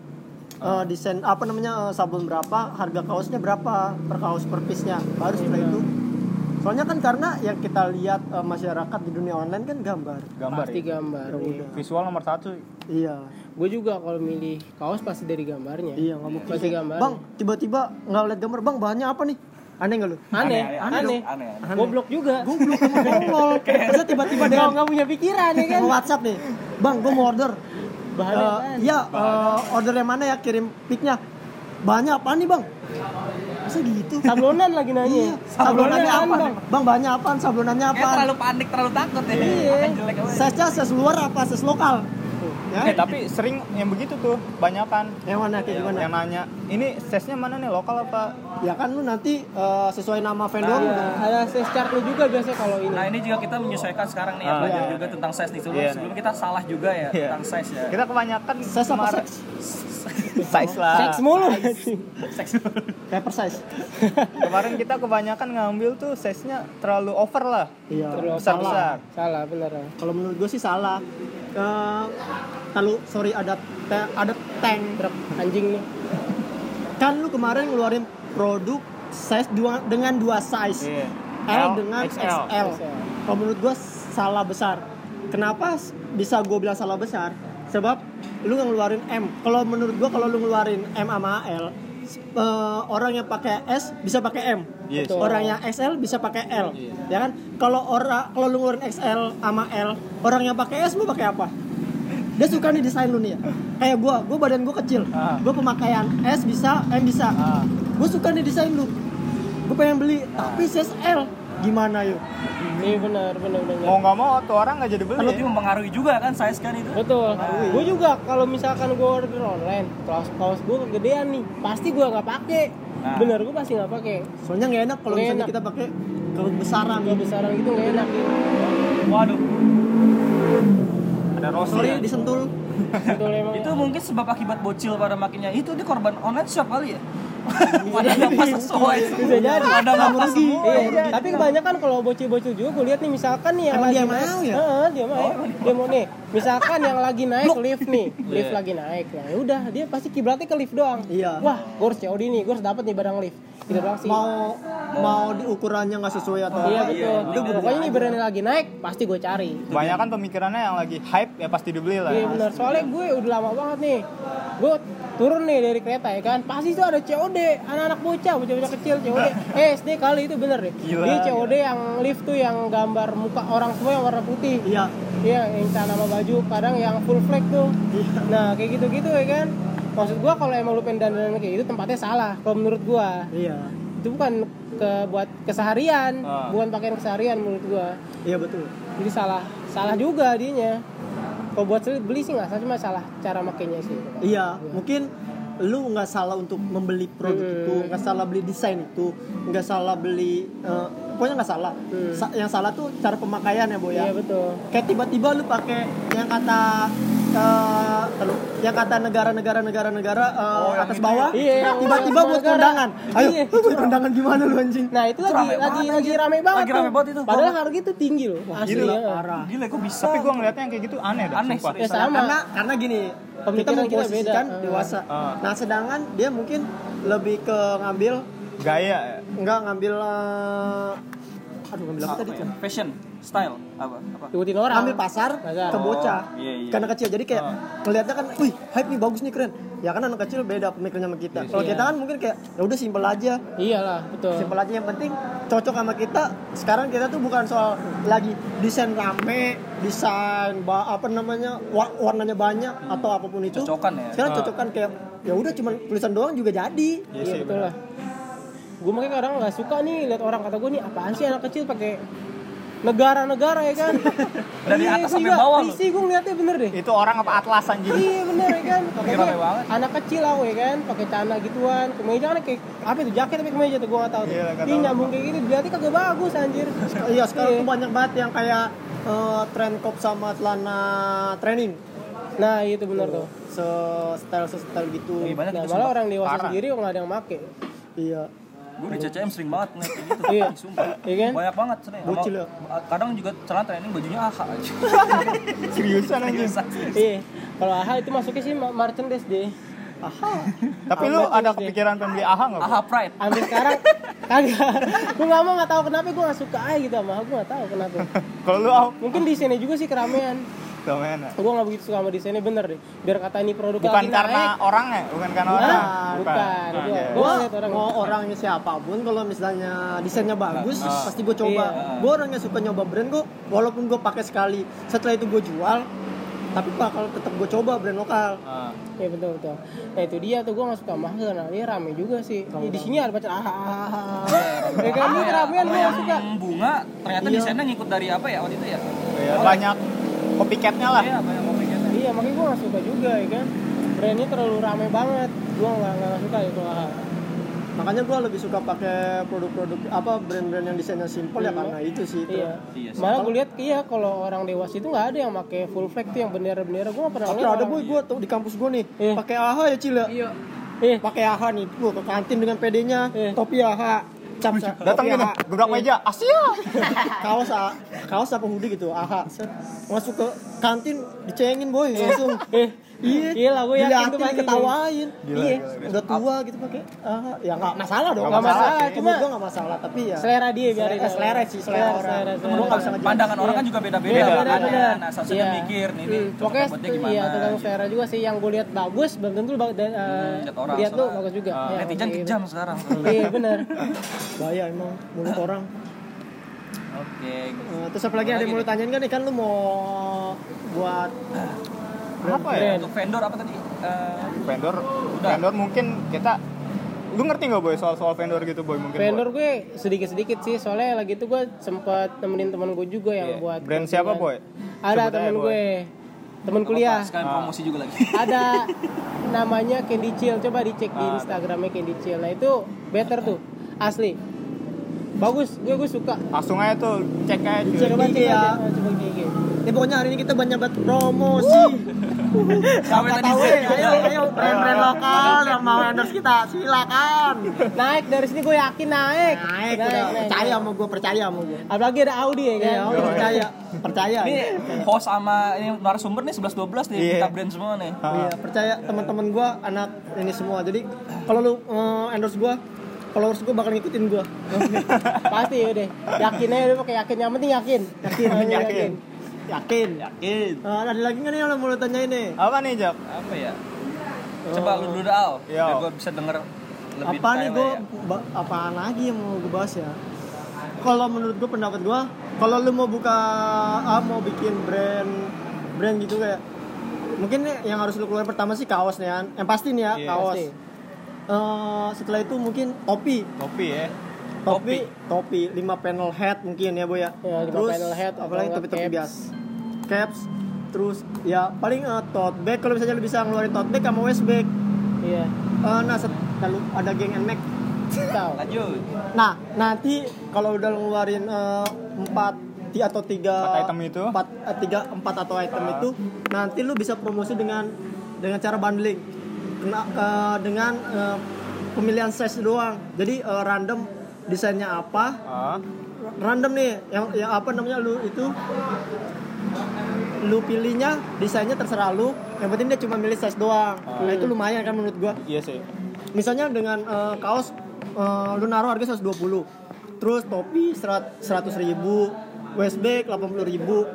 Eh, desain apa namanya eh, sablon berapa harga kaosnya berapa per kaos per piece-nya baru setelah Iya. itu soalnya kan karena yang kita lihat eh, masyarakat di dunia online kan gambar Gambar. Pasti ya. gambar. udah. Visual nomor satu. iya Gue juga kalau milih kaos pasti dari gambarnya. iya nggak mungkin Pasti gambar. bang tiba-tiba nggak lihat gambar bang bahannya apa nih aneh nggak lu aneh, Aneh, aneh, aneh, aneh, aneh. Goblok juga. goblok sama tolol Masa tiba-tiba Nggak- dengan nggak punya pikiran ya kan. Mau WhatsApp nih. Bang, gue mau order. Bahannya Eh, apaan? Iya, eh, order yang mana ya? Kirim pic-nya. Bahannya apaan nih, Bang? Masa gitu? Sablonan lagi nanya. Iya, sablonannya apaan, apa? Bang? Bang, bahannya apaan? Sablonannya Kayak apaan? Eh, terlalu panik, terlalu takut ya. Iya. Akan jelek apa ya. Size-nya size luar apa size lokal? Eh Ya. tapi sering yang begitu tuh banyakan Iya, Yang mana kayak gimana? yang nanya ini size-nya mana nih lokal apa Ya kan lu nanti eh, sesuai nama vendor Iya, udah. ada size chart lu juga biasanya kalau ini. Nah ini juga kita menyesuaikan sekarang nih, ya, Ah, belajar iya. juga tentang size nih. Sebelum, Iya, sebelum kita salah juga ya Iya. tentang size ya. kita kebanyakan Size apa kemarin- size? size lah Seks mulu. Size. Paper size. kemarin kita kebanyakan ngambil tuh size-nya terlalu over lah Iya. Terlalu besar salah. besar Salah bener. Kalau menurut gue sih salah. Eh, kalau sorry ada te- ada tank Truk anjing nih. kan lu kemarin ngeluarin produk size dua dengan dua size Iya. L, dengan XL. XL. Kalau menurut gua salah besar. Kenapa s- bisa gua bilang salah besar? Sebab lu nggak ngeluarin M. Kalau menurut gua kalau lu ngeluarin M sama L, s- eh, orang yang pakai S bisa pakai M. Iya Yes. Betul. Orang yang XL bisa pakai L. Ya kan? Kalau orang kalau lu ngeluarin XL sama L, orang yang pakai S mau pakai apa? Dia suka nih desain lu nih ya. Kayak gua, gua badan gua kecil. Ah. Gua pemakaian S bisa, M bisa. Ah. Gua suka nih desain lu. Gua pengen beli, Ah. tapi size L. Gimana yuk? Iya bener bener bener. mau nggak mau tuh orang nggak jadi beli Itu mempengaruhi juga kan size kan itu. Betul. Gue juga kalau misalkan gue order online, kaos kaos gue kegedean nih, pasti gue nggak pakai. Nah. Bener gue pasti nggak pakai. Soalnya nggak enak kalau Nggak misalnya enak. kita pakai kebesaran. Kalau besaran gitu nggak enak. Waduh. ada Rossi Sorry ya. disentul. Betul emang. Itu mungkin sebab akibat bocil pada makinnya itu dia korban online shop kali ya. Padahal pas sesuai. Bisa jadi. Kamu Padahal nggak rugi. semua. Iya, Tapi kebanyakan kalau bocil-bocil juga gue lihat nih misalkan nih yang Emang lagi dia naik- mau ya? Heeh, dia mau. Dia mau nih. Misalkan yang lagi naik lift nih, lift lagi naik. Ya udah, dia pasti kiblatnya ke lift doang. Iya. Wah, gue harus COD nih, gue harus dapat nih barang lift. Tidak doang sih. Mau mau diukurannya nggak sesuai atau Iya apa, betul. udah gua beli Pokoknya ini aja. berani lagi naik, pasti gue cari. kebanyakan pemikirannya yang lagi hype ya pasti dibeli lah Iya benar. Soalnya gue udah lama banget nih. Gue turun nih dari kereta ya kan. Pasti itu ada COD, anak-anak bocah, bocah-bocah kecil COD. Eh, SD kali itu bener deh. Gila. Dia COD yang lift tuh yang gambar muka orang semua yang warna putih. Iya. Iya, yang celana sama baju, kadang yang full flag tuh. Nah, kayak gitu-gitu ya kan. Maksud gua kalau emang lu pengen dandanan kayak gitu tempatnya salah kalau menurut gua. Iya. Itu itu bukan ke buat keseharian, Ah. bukan pakaian keseharian menurut gua. Iya betul. Jadi salah, salah juga dinya. Kalau buat sel- beli sih nggak salah, cuma salah cara makainya sih. Iya, mungkin lu nggak salah untuk membeli produk Hmm. itu, nggak salah beli desain itu, nggak salah beli, eh, pokoknya nggak salah. Hmm. Sa- yang salah tuh cara pemakaian ya, boy ya. Iya betul. Kayak tiba-tiba lu pakai yang kata eh, aduh, yang kata negara-negara negara-negara eh, Oh, yang atas itu bawah, ya? Iya, yang tiba-tiba yang buat negara. kondangan. Ayo, Iya. buat kondangan gimana lu anjing? Nah itu lagi Rame lagi banget, lagi anjir. rame banget. Lagi rame tuh. banget itu. Padahal harga itu tinggi loh. Asli Gila, ya. parah. Gila kok bisa. Tapi gua ngeliatnya yang kayak gitu aneh dah, Aneh, sumpah. Ya sama. Karena karena gini, kita Pemikiran kita beda. memposisikan Eh. dewasa. Ah. Eh. Nah, sedangkan dia mungkin lebih ke ngambil Gaya ya. Enggak ngambil eh, aduh ngambil apa Apa tadi ya? tuh? Fashion, style, apa? Apa? Ikutin orang. Ngambil pasar Pasar. ke bocah. Oh, iya, iya. Karena kecil jadi kayak ngeliatnya kan, wih, hype nih bagus nih keren. Ya kan anak kecil beda pemikirannya sama kita. Kalau Iya. kita kan mungkin kayak ya udah simpel aja. Iyalah Oh. betul. Simpel aja yang penting cocok sama kita. Sekarang kita tuh bukan soal lagi desain rame, desain ba- apa namanya? wa- warnanya banyak atau apapun itu. Cocokan ya? Sekarang Ah. cocokan kayak ya udah cuman tulisan doang juga jadi. Iya Iya sih, betul lah. Gue makanya kadang nggak suka nih lihat orang kata gue nih apaan sih anak kecil pakai negara-negara ya kan. Dari Iya, gua atas sampai juga bawah loh. Risih gue ngeliatnya bener deh. Itu orang apa atlas anjing? Iya bener ya kan. Lagi Makanya rame banget. Anak kecil aku ya kan, pakai celana gituan, kemeja kan kayak apa itu jaket tapi kemeja tuh gue nggak tahu. tuh. Iya, nggak Ih tahu. nyambung kayak gitu, berarti kagak bagus anjir. Iya sekarang tuh Iya. banyak banget yang kayak eh, tren kop sama celana training Nah itu bener tuh. se style se style gitu. Lagi banyak Nah itu malah sumpah. orang dewasa Parah. sendiri nggak ada yang make. Iya. Gue di CCM sering banget ngeliat kayak gitu. Iya. Sumpah. Iya kan? Banyak banget sering. Sama- Bocil ya? Kadang juga celana training bajunya AHA aja. Seriusan anjing. Seriusan. Iya. Kalau AHA itu masuknya sih ma- merchandise deh. Tapi lu ya. ada kepikiran pembeli AHA enggak? AHA Pride. ambil sekarang kagak gue nggak mau nggak tahu kenapa gue nggak suka aja gitu sama aku nggak tahu kenapa Kalau lu AHA mungkin di sini juga sih keramaian gimana? gue nggak begitu suka sama desainnya bener deh biar kata ini produk lagi Bukan karena naik, orangnya, bukan karena Bukan. orang. Bukan. Nah, Gua- iya. gua Gua liat orang. mau orangnya siapapun kalau misalnya desainnya bagus pasti gue coba. Iya. Gue orangnya suka nyoba brand kok walaupun gue pakai sekali setelah itu gue jual tapi bakal tetap gue coba brand lokal. Ah. ya betul betul nah itu dia tuh gue nggak suka mahal karena dia rame juga sih Ya, di sini ada baca ah ah, ah, ah. ya kan ini keramaian gue nggak suka Iya. Yang bunga ternyata desainnya ngikut dari apa ya waktu itu ya? Iya, banyak copycatnya lah. Iya, banyak kopinya. iya makanya gue nggak suka juga ya kan brandnya terlalu rame banget gue nggak nggak suka itu ah, AHA Makanya gue lebih suka pakai produk-produk apa brand-brand yang desainnya simple Iya. ya karena itu sih itu. Iya. Iya sih. Malah gue lihat iya kalau orang dewasa itu nggak ada yang pakai full flag tuh yang bendera-bendera. Gue nggak pernah Tapi lihat ada orang. boy gue tuh di kampus gue nih Iya. pakai AHA ya Cil ya. Iya. Eh, pakai AHA nih gua ke kantin dengan PD-nya Iya. topi AHA cap cap Datang topi gini, AHA, gebrak meja, Asia. kaos A- kaos apa hoodie gitu AHA set. masuk ke kantin dicengin boy langsung eh. iya Iya lah, gua yakin diliatin, tuh pasti. diketawain Gila, iya gila, gila. udah tua gitu pakai AHA ya nggak masalah dong Nggak masalah, cuma- cuma gua nggak masalah tapi ya Selera dia biarin. selera, selera sih selera, orang selera. gua nggak bisa ngejelasin Pandangan orang kan juga beda-beda. Iya, makanya. benar-benar. Nah, seharusnya Iya. mikir nih, nih Hmm, cocok pokoknya buatnya itu- gimana. Gitu. iya tentang selera juga sih yang gue lihat bagus belum tentu bag- dan, eh, lihat Hmm, orang, lihat lu soalnya. bagus juga. Ya, Netizen kayak gitu. kejam sekarang. Iya benar. bahaya emang mulut orang Oke. Eh, terus apa lagi ada yang mau lu tanyain kan nih kan lu mau buat Apa ya? Brand. Untuk vendor apa tadi? Eh, Vendor, vendor mungkin kita lu ngerti nggak boy soal soal vendor gitu boy mungkin boy? Vendor gue sedikit-sedikit sih soalnya lagi itu gue sempat nemenin temen gue juga yang Iya. buat gitu kan. Brand siapa, Boy? Ada Sebut aja, temen Boy. gue. Temen apa, kuliah. Ah. Sekalian promosi juga lagi. ada namanya Candy Chill coba dicek di Ah, Instagramnya Candy Chill nah itu better tuh asli bagus gue gue suka langsung aja tuh cek aja cuy. coba IG cek ya. aja coba di IG Ya pokoknya hari ini kita banyak banget promosi. Sampai tadi Tahu Z ya, juga. ayo ayo brand-brand lokal yang mau endorse kita silakan. naik dari sini gue yakin naik Naik, udah. percaya sama gue, percaya sama gue. apalagi ada Audi ya kan Iya, oh, percaya, percaya. Ini host sama ini narasumber nih 11 12 nih Iya. kita brand semua nih. Iya, percaya teman-teman gue anak ini semua. Jadi kalau lu eh, endorse gue, followers gue bakal ngikutin gue. Ah. pasti ya deh yakin aja udah pakai yakin yang penting yakin Yakin, Yang penting yakin. Yakin. Iya. Yakin. Eh, ada lagi nggak nih yang lo mau lu tanyain nih? apa nih Jack? Apa ya? Oh. Coba lu dulu dah, Al. Iya. Biar gua bisa denger lebih apa nih detail gue ya. apaan lagi yang mau gue bahas ya kalau menurut gue pendapat gue kalau lu mau buka ah, mau bikin brand brand gitu kayak mungkin yang harus lu keluar pertama sih kaos nih An. yang pasti nih ya Iya. kaos Pasti. eh, setelah itu mungkin topi Topi ya. topi topi lima panel head mungkin ya bu ya, Ya, lima terus panel head, apalagi atau topi topi caps. biasa caps terus ya paling eh, tote bag kalau misalnya bisa ngeluarin tote bag sama waist bag iya Eh, nah set- kalau ada geng enek tahu Lanjut. nah nanti kalau udah ngeluarin eh, empat ti- atau tiga Empat item itu? empat eh, tiga empat atau item Empat. itu nanti lu bisa promosi dengan dengan cara bundling Kena, eh, dengan eh, pemilihan size doang jadi eh, random desainnya apa Ah, random nih yang yang apa namanya lu itu lu pilihnya desainnya terserah lu yang penting dia cuma milih size doang nah itu lumayan kan menurut gua iya sih. misalnya dengan eh, kaos eh, lu naruh harga 120 terus topi serat- 100 ribu waist bag 80 ribu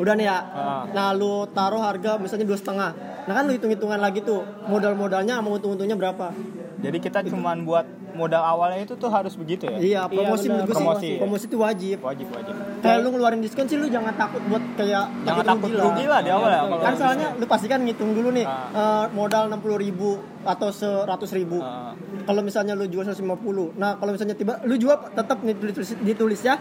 udah nih ya Ah. nah lu taruh harga misalnya dua setengah nah kan lu hitung-hitungan lagi tuh modal-modalnya sama untung-untungnya berapa Jadi kita cuman buat modal awalnya itu tuh harus begitu ya. iya promosi benar. menurut gua sih, Promosi. promosi itu wajib Wajib wajib. kayak lu ngeluarin diskon sih lu jangan takut buat kayak Jangan takut rugi lah di awal ya. kalau- kan soalnya lu pasti kan ngitung dulu nih Ah. eh, modal 60 ribu atau 100 ribu Ah. kalau misalnya lu jual 150 nah kalau misalnya tiba lu jual tetap nih ditulis, ditulis ya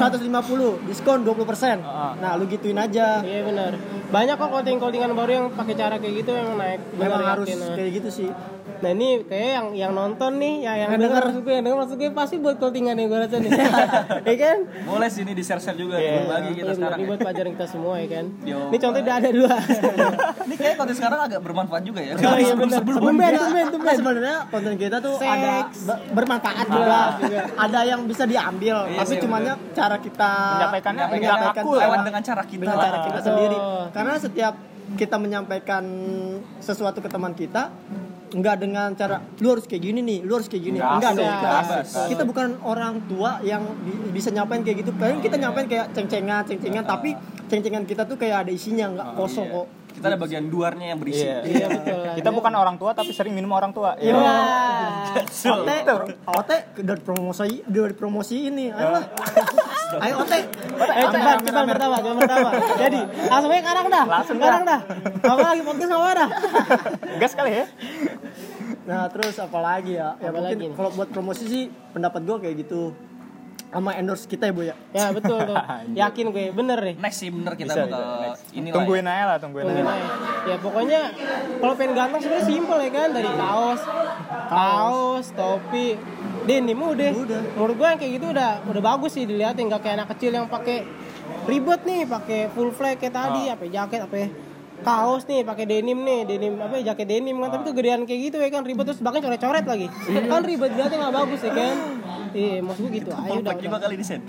150 diskon 20 persen Ah. nah lu gituin aja iya benar banyak kok clothing-clothingan baru yang pakai cara kayak gitu memang naik memang Benar, harus yakin, nah. kayak gitu sih Nah ini kayak yang yang nonton nih, ya, yang yang Yang denger denger. maksud gue, yang denger maksud gue pasti buat clothingan nih gue rasa nih. Iya kan? Boleh sih ini di-share-share juga Iya. bagi kita Iya, benar. sekarang. ya. Ini buat pelajaran kita semua ya kan. Yo. Ini contohnya udah ada dua. Ini kayak konten sekarang agak bermanfaat juga ya. Oh iya benar. Tumben, tumben, Nah, tumben. sebenarnya konten kita tuh Seks. ada be- bermanfaat juga. ada yang bisa diambil, Iya, tapi iya, cumannya cara kita Menyampaikannya yang menyampaikan aku lewat dengan cara kita. dengan cara kita Betul. sendiri. Karena setiap kita menyampaikan sesuatu ke teman kita nggak dengan cara lu harus kayak gini nih, lu harus kayak gini. Nggak Enggak asik, dong. Kita, nggak asik. kita bukan orang tua yang bi- bisa nyampein kayak gitu. Paling kita nyampein kayak ceng-cengan, ceng-cengan, tapi ceng-cengan kita tuh kayak ada isinya, nggak kosong kok. Iya. Kita ada bagian luarnya yang berisi. Iya. Iya betul. Kita bukan orang tua tapi sering minum orang tua. Iya. Iya. Ote, Ote udah promosi, udah promosi Iya. ini, ayolah. Ayo Ote. Eh, cepat, cepat pertama, cepat pertama. Jadi, langsung aja karang dah. Langsung karang dah. Apa lagi podcast sama dah. Gas kali ya. Nah terus apa lagi ya? Ya Apa lagi mungkin nih? kalau buat promosi sih pendapat gue kayak gitu sama endorse kita ya bu ya. Ya betul tuh. Yakin gue, bener deh. Next sih bener kita Bisa, bakal bisa, next. ini Tungguin aja lah, tungguin aja. Mungkin aja. Ya pokoknya kalau pengen ganteng sebenarnya simpel ya kan dari kaos, kaos, topi, denim udah. Udah. Menurut gua yang kayak gitu udah udah bagus sih dilihatin nggak kayak anak kecil yang pakai ribet nih pakai full flag kayak tadi apa ya, jaket apa ya, kaos nih pakai denim nih denim apa ya, jaket denim kan tapi tuh gedean kayak gitu ya kan ribet terus bahkan coret-coret lagi kan ribet dilihatnya nggak bagus ya kan iya maksud gua gitu ayo udah, Kompak juga udah. kali ini, Sen.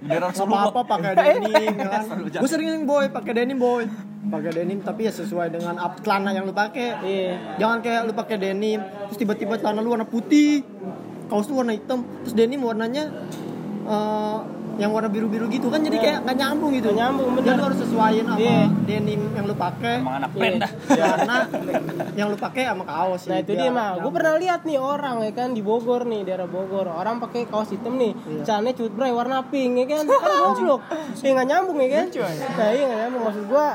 Beneran Apa semua. apa pakai denim, ya kan? Selalu jahat. Gue sering boy pakai denim boy. Pakai denim tapi ya sesuai dengan up celana yang lu pakai. iya Jangan kayak lu pakai denim terus tiba-tiba celana lu warna putih, kaos lu warna hitam, terus denim warnanya eh, yang warna biru-biru gitu kan jadi kayak nggak nyambung gitu. Iya. Nggak nyambung, bener. Jadi lu harus sesuaiin sama Iya. denim yang lu pakai. Emang anak Iya. pen dah. karena yang lu pakai sama kaos Nah itu juga. dia mah, gue pernah lihat nih orang ya kan di Bogor nih daerah Bogor orang pakai kaos hitam nih, celananya cutbray warna pink ya kan, kan goblok, ya nggak nyambung ya kan? Nah iya nggak nyambung maksud gue,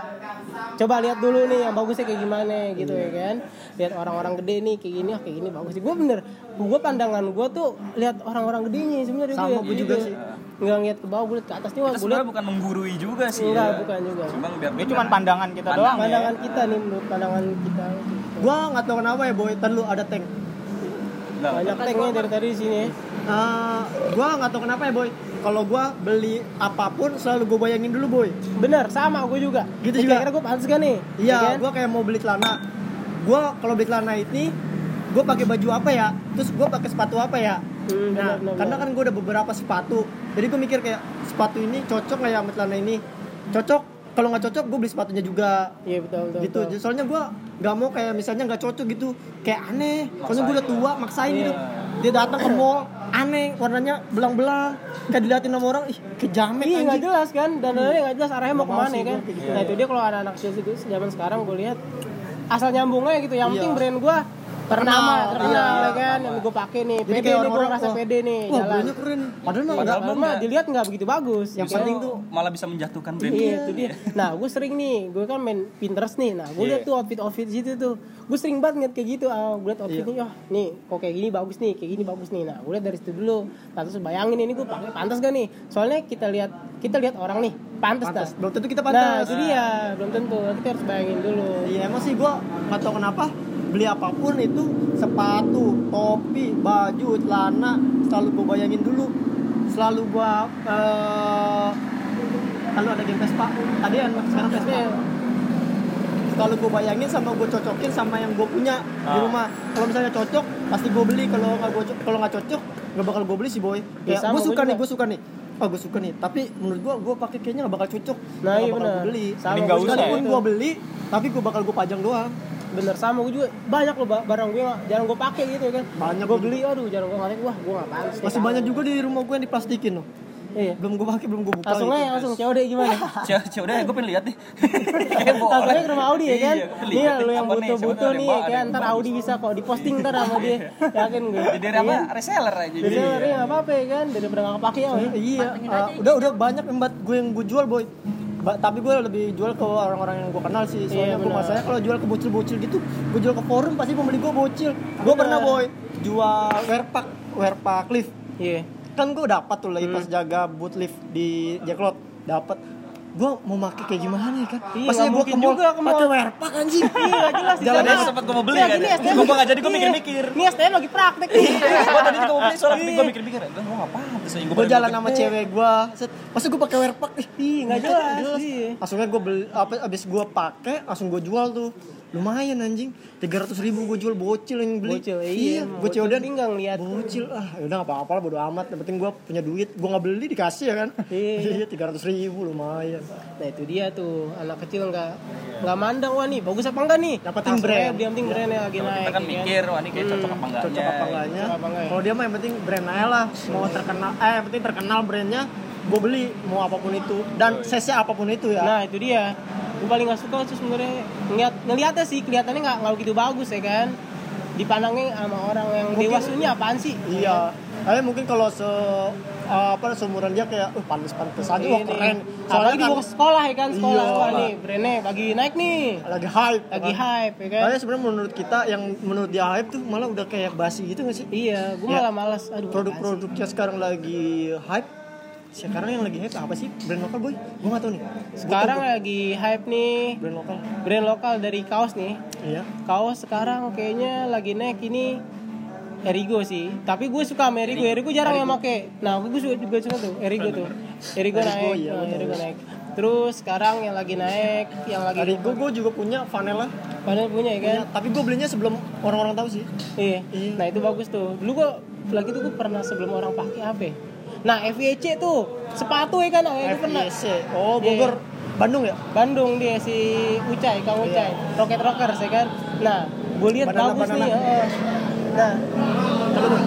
coba lihat dulu nih yang bagusnya kayak gimana gitu ya kan, lihat orang-orang gede nih kayak gini, ah kayak gini bagus sih, gue bener, gue pandangan gue tuh lihat orang-orang gedenya sebenarnya Sama lihat gua juga gitu. sih. nggak ngeliat ke bawah, gue liat ke atas nih, wah Kita gue liat sebenarnya bukan menggurui juga sih. Enggak, ya. Iya, bukan juga. Cuma biar Ini cuma pandangan kita doang. ya. pandangan kita nih menurut pandangan kita. gitu. gua nggak tahu kenapa ya boy terlalu ada tank Nah, Banyak tanknya dari tadi di sini. ya. Eh, gua nggak tahu kenapa ya boy kalau gua beli apapun selalu gue bayangin dulu boy Bener, sama gue juga. Ini Gitu juga. Kira-kira gue pantas gak nih? iya kan? gua kayak mau beli celana gua kalau beli celana ini gue pakai baju apa ya terus gue pakai sepatu apa ya Hmm, nah benar, benar, karena kan gue udah beberapa sepatu jadi gue mikir kayak sepatu ini cocok nggak ya sama celana ini cocok kalau nggak cocok gue beli sepatunya juga Iya betul betul. gitu betul. soalnya gue nggak mau kayak misalnya nggak cocok gitu kayak aneh soalnya gue udah tua maksain gitu Iya. dia datang ke mall aneh warnanya belang-belang kayak diliatin sama orang ih kejamet Iya nggak anjing Iya. jelas kan, dan dananya nggak jelas arahnya mau Nggak mau kemana sih, ya kan. gua kayak Nah itu dia kalau anak anak kecil itu zaman sekarang gue lihat asal nyambung aja gitu. Yang Iya. penting brand gue Ternama, Ternama, ternama, ya kan yang gue pakai nih. Jadi Pede kayak nih, gue orang-orang, ngerasa wah, pede nih Wah, jalan. brandnya keren. Padahal mah Padahal enggak. Padahal mah dilihat nggak begitu bagus. Yang Justru- penting tuh malah bisa menjatuhkan brand Iya itu dia. Nah gue sering nih, gue kan main Pinterest nih. Nah gue liat tuh outfit outfit situ tuh, gue sering banget ngeliat kayak gitu. Ah, gue liat outfitnya, wah nih kok kayak gini bagus nih, kayak gini bagus nih. Nah gue liat dari situ dulu. Nah terus bayangin ini gue pakai pantas gak nih? Soalnya kita lihat kita lihat orang nih, pantas, pantas. pantas. Belum tentu kita Nah pantas. itu dia, belum tentu. Kita harus bayangin dulu. Iya emang sih gua nggak tahu kenapa beli apapun itu sepatu, topi, baju, celana selalu gua bayangin dulu. Selalu gua eh lalu ada game Vespa, tadi yang sekarang Vespa. Selalu gua bayangin sama gua cocokin sama yang gua punya di rumah. Kalau misalnya cocok pasti gua beli. Kalau nggak gua co- kalau nggak cocok nggak bakal gua beli sih boy. Ya, Ya, sama, gua gua suka nih, juga. gua suka nih. Oh, gua suka nih, tapi menurut gua gua pakai kayaknya nggak bakal cocok. Nah Nggak iya bakal benar. gua beli. Sama Mending gua nggak juga usah ya. kayak Sekalipun gitu. gue beli, tapi gue bakal gue pajang doang. bener sama gue juga banyak loh ba- barang gue nggak- jarang gue pakai gitu kan. Banyak gue beli, aduh jarang gue pakai, wah gue nggak pantas. nih, Masih kalah. banyak juga di rumah gue yang diplastikin loh. Iya. Belum gue pakai, belum gue buka. Langsung gitu. aja langsung COD gimana? Cewek udah gue pengen lihat nih. Langsung aja ke rumah Audi ya kan? Iya, gua Nih lihat lu yang apa nih, butuh-butuh siapa ada nih yang ya bawa, kan? ada Ntar yang Audi bisa kok diposting ntar sama dia. Ya Yakin gue. Jadi dia apa? Reseller aja. Iya. Jadi gitu. ngeri nggak apa-apa ya kan? Daripada nggak kepake ya. weh. Iya, ah, udah udah banyak embat gue yang gue jual boy. Ba- tapi gue lebih jual ke orang-orang yang gue kenal sih Iya, soalnya gue benar. masanya kalau jual ke bocil-bocil gitu gue jual ke forum pasti pembeli gue bocil gue pernah boy jual werpak werpak lift Iya. kan gue dapat tuh lagi Hmm. pas jaga boot lift di Jacklot dapat gue mau pakai kayak gimana ya kan Iya, Pasti nggak gue ke mungkin mall juga ke mall. pakai werpak anjing iya gak jelas Jalan jalan aja sempat gue mau beli Iya, kan. gini, STM. Gue gak jadi gue Iya. mikir-mikir. Nih STM lagi praktek Iya. nih. Gue tadi juga mau beli soalnya tapi gue mikir-mikir. Gue gak pantas aja gue jalan sama cewek gue set masa gue pakai werpak ih Ih, nggak jelas. Iya. langsungnya gue beli apa abis gue pakai langsung gue jual tuh lumayan anjing tiga ratus ribu gue jual bocil yang beli Bocil, iya, emang gue bocil cewek penting nggak ngeliat. bocil ah yaudah nggak apa-apa lah bodo amat yang penting gue punya duit gue nggak beli dikasih ya kan Iya. iya tiga ratus ribu lumayan Nah itu dia tuh anak kecil nggak nggak mandang wah nih bagus apa enggak nih? Yang penting Langsung brand. aja, Yang penting brand ya lagi naik. Kita kan ya mikir, wah ini kayak cocok apa enggaknya. cocok apa Cocok enggaknya apa Iya. enggak ya? kalau dia mah yang penting brand aja lah mau terkenal eh yang penting terkenal brandnya gue beli mau apapun itu dan cc apapun itu ya Iya, Nah itu dia. Gue paling gak suka tuh sebenarnya ngeliat ngeliatnya sih kelihatannya nggak nggak begitu bagus ya kan. Dipandangnya sama orang yang dewasa ini apaan sih? iya eh mungkin kalau se apa seumuran dia kayak uh pantas pantas aja wah Ini. keren Apalagi kan dibawa ke sekolah ya kan sekolah Iya. sekolah nih brandnya lagi naik nih lagi hype lagi kan. hype ya kan. Makanya sebenarnya menurut kita yang menurut dia hype tuh malah udah kayak basi gitu gak sih Iya, gue Ya. malah malas. Aduh, apaan sih? produk-produknya sekarang lagi hype sekarang yang lagi hype apa sih brand lokal boy gue gak tau nih Gua Sekarang ya? tahu lagi hype nih gua brand lokal brand lokal dari kaos nih. iya Kaos sekarang kayaknya lagi naik ini Erigo sih, tapi gue suka sama Erigo. Erigo jarang yang make. Nah, gue suka juga suka tuh Erigo tuh. Erigo naik, iya, nah, bener. Erigo naik. Terus sekarang yang lagi naik, yang lagi Dari gue, gue juga punya vanilla. padahal punya ya kan? Punya, Iya, tapi gue belinya sebelum orang-orang tahu sih. Iya. Nah, itu bagus tuh. Dulu gue lagi tuh gue pernah sebelum orang pakai HP. Nah, FYC tuh sepatu ya kan, awalnya gue pernah. Iya, FYC. Oh, Bogor. Bandung ya? Bandung dia si Ucai, Kang Ucai, Rocket Rockers ya kan. Nah, gue lihat Banana, bagus banana. nih. heeh. Nah, Iya.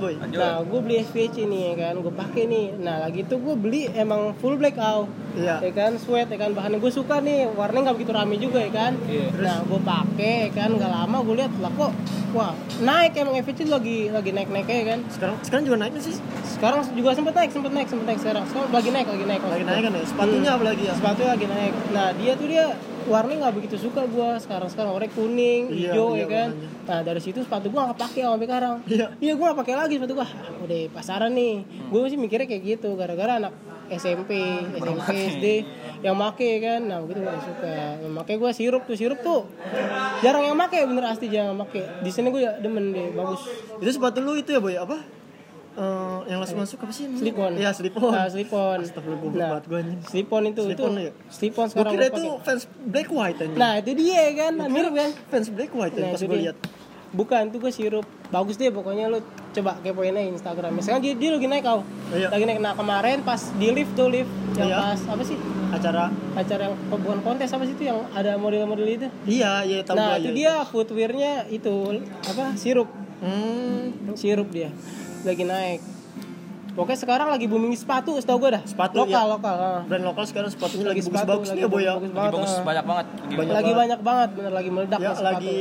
Lanjut, Boy. nah gue beli FVC nih ya kan, gue pakai nih. Nah lagi itu gue beli emang full black out, Iya. ya kan, sweat ya kan, bahan gue suka nih, warnanya nggak begitu rame juga ya kan. Iya. Nah gue pakai ya kan, nggak lama gue lihat lah kok, wah naik emang FVC lagi lagi naik naiknya ya kan. Sekarang sekarang juga naiknya sih. Sekarang juga sempet naik, sempet naik, sempet naik sekarang. Sekarang lagi naik, lagi naik. Lagi naik kan ya? Sepatunya Hmm. apa lagi ya? sepatu lagi naik nah dia tuh dia warnanya nggak begitu suka gua sekarang sekarang warnanya kuning Iya, hijau iya, ya kan warnanya. nah dari situ sepatu gua nggak pakai sampai sekarang Iya. iya gua nggak pakai lagi sepatu gua Ah, udah pasaran nih gua sih mikirnya kayak gitu gara-gara anak SMP Ah, SMP SD yang make ya kan nah gitu gua nggak suka yang make gua sirup tuh sirup tuh jarang yang make bener asli jarang yang make di sini gua ya demen deh bagus Itu sepatu lu itu ya, Boy? Apa? Eh, yang langsung masuk apa sih? namanya? slipon Iya, slipon. nah, slipon Astagfirullah, gua banget gua anjing. slipon Nah, itu Slip-on itu lu ya? slipon Gue sekarang kira gua itu pakai. fans Black White anjing. Nah itu dia kan, mirip kan? Fans Black White Nah, yang pas itu gue dia. lihat. Bukan, itu gue sirup. Bagus deh pokoknya lu coba kepoin aja Instagramnya. Sekarang dia, dia lagi naik kau. Iya. Lagi naik. Nah kemarin pas di lift tuh lift yang Iya. pas apa sih? Acara Acara yang oh, bukan kontes apa sih itu yang ada model-model itu. Iya, iya tahu nah gua, itu iya. dia footwearnya itu apa sirup, Hmm, sirup dia lagi naik. Pokoknya sekarang lagi booming sepatu, setahu gue dah. Sepatu, lokal, iya. lokal. ah. brand lokal sekarang sepatunya Lagi lagi sepatu, bagus-bagus lagi nih ya, Boy ya. bagus-bagus Lagi banget, bagus ah. banyak banget. Lagi Banyak lagi banget. banyak banget bener lagi meledak Ya, nih sepatu. lagi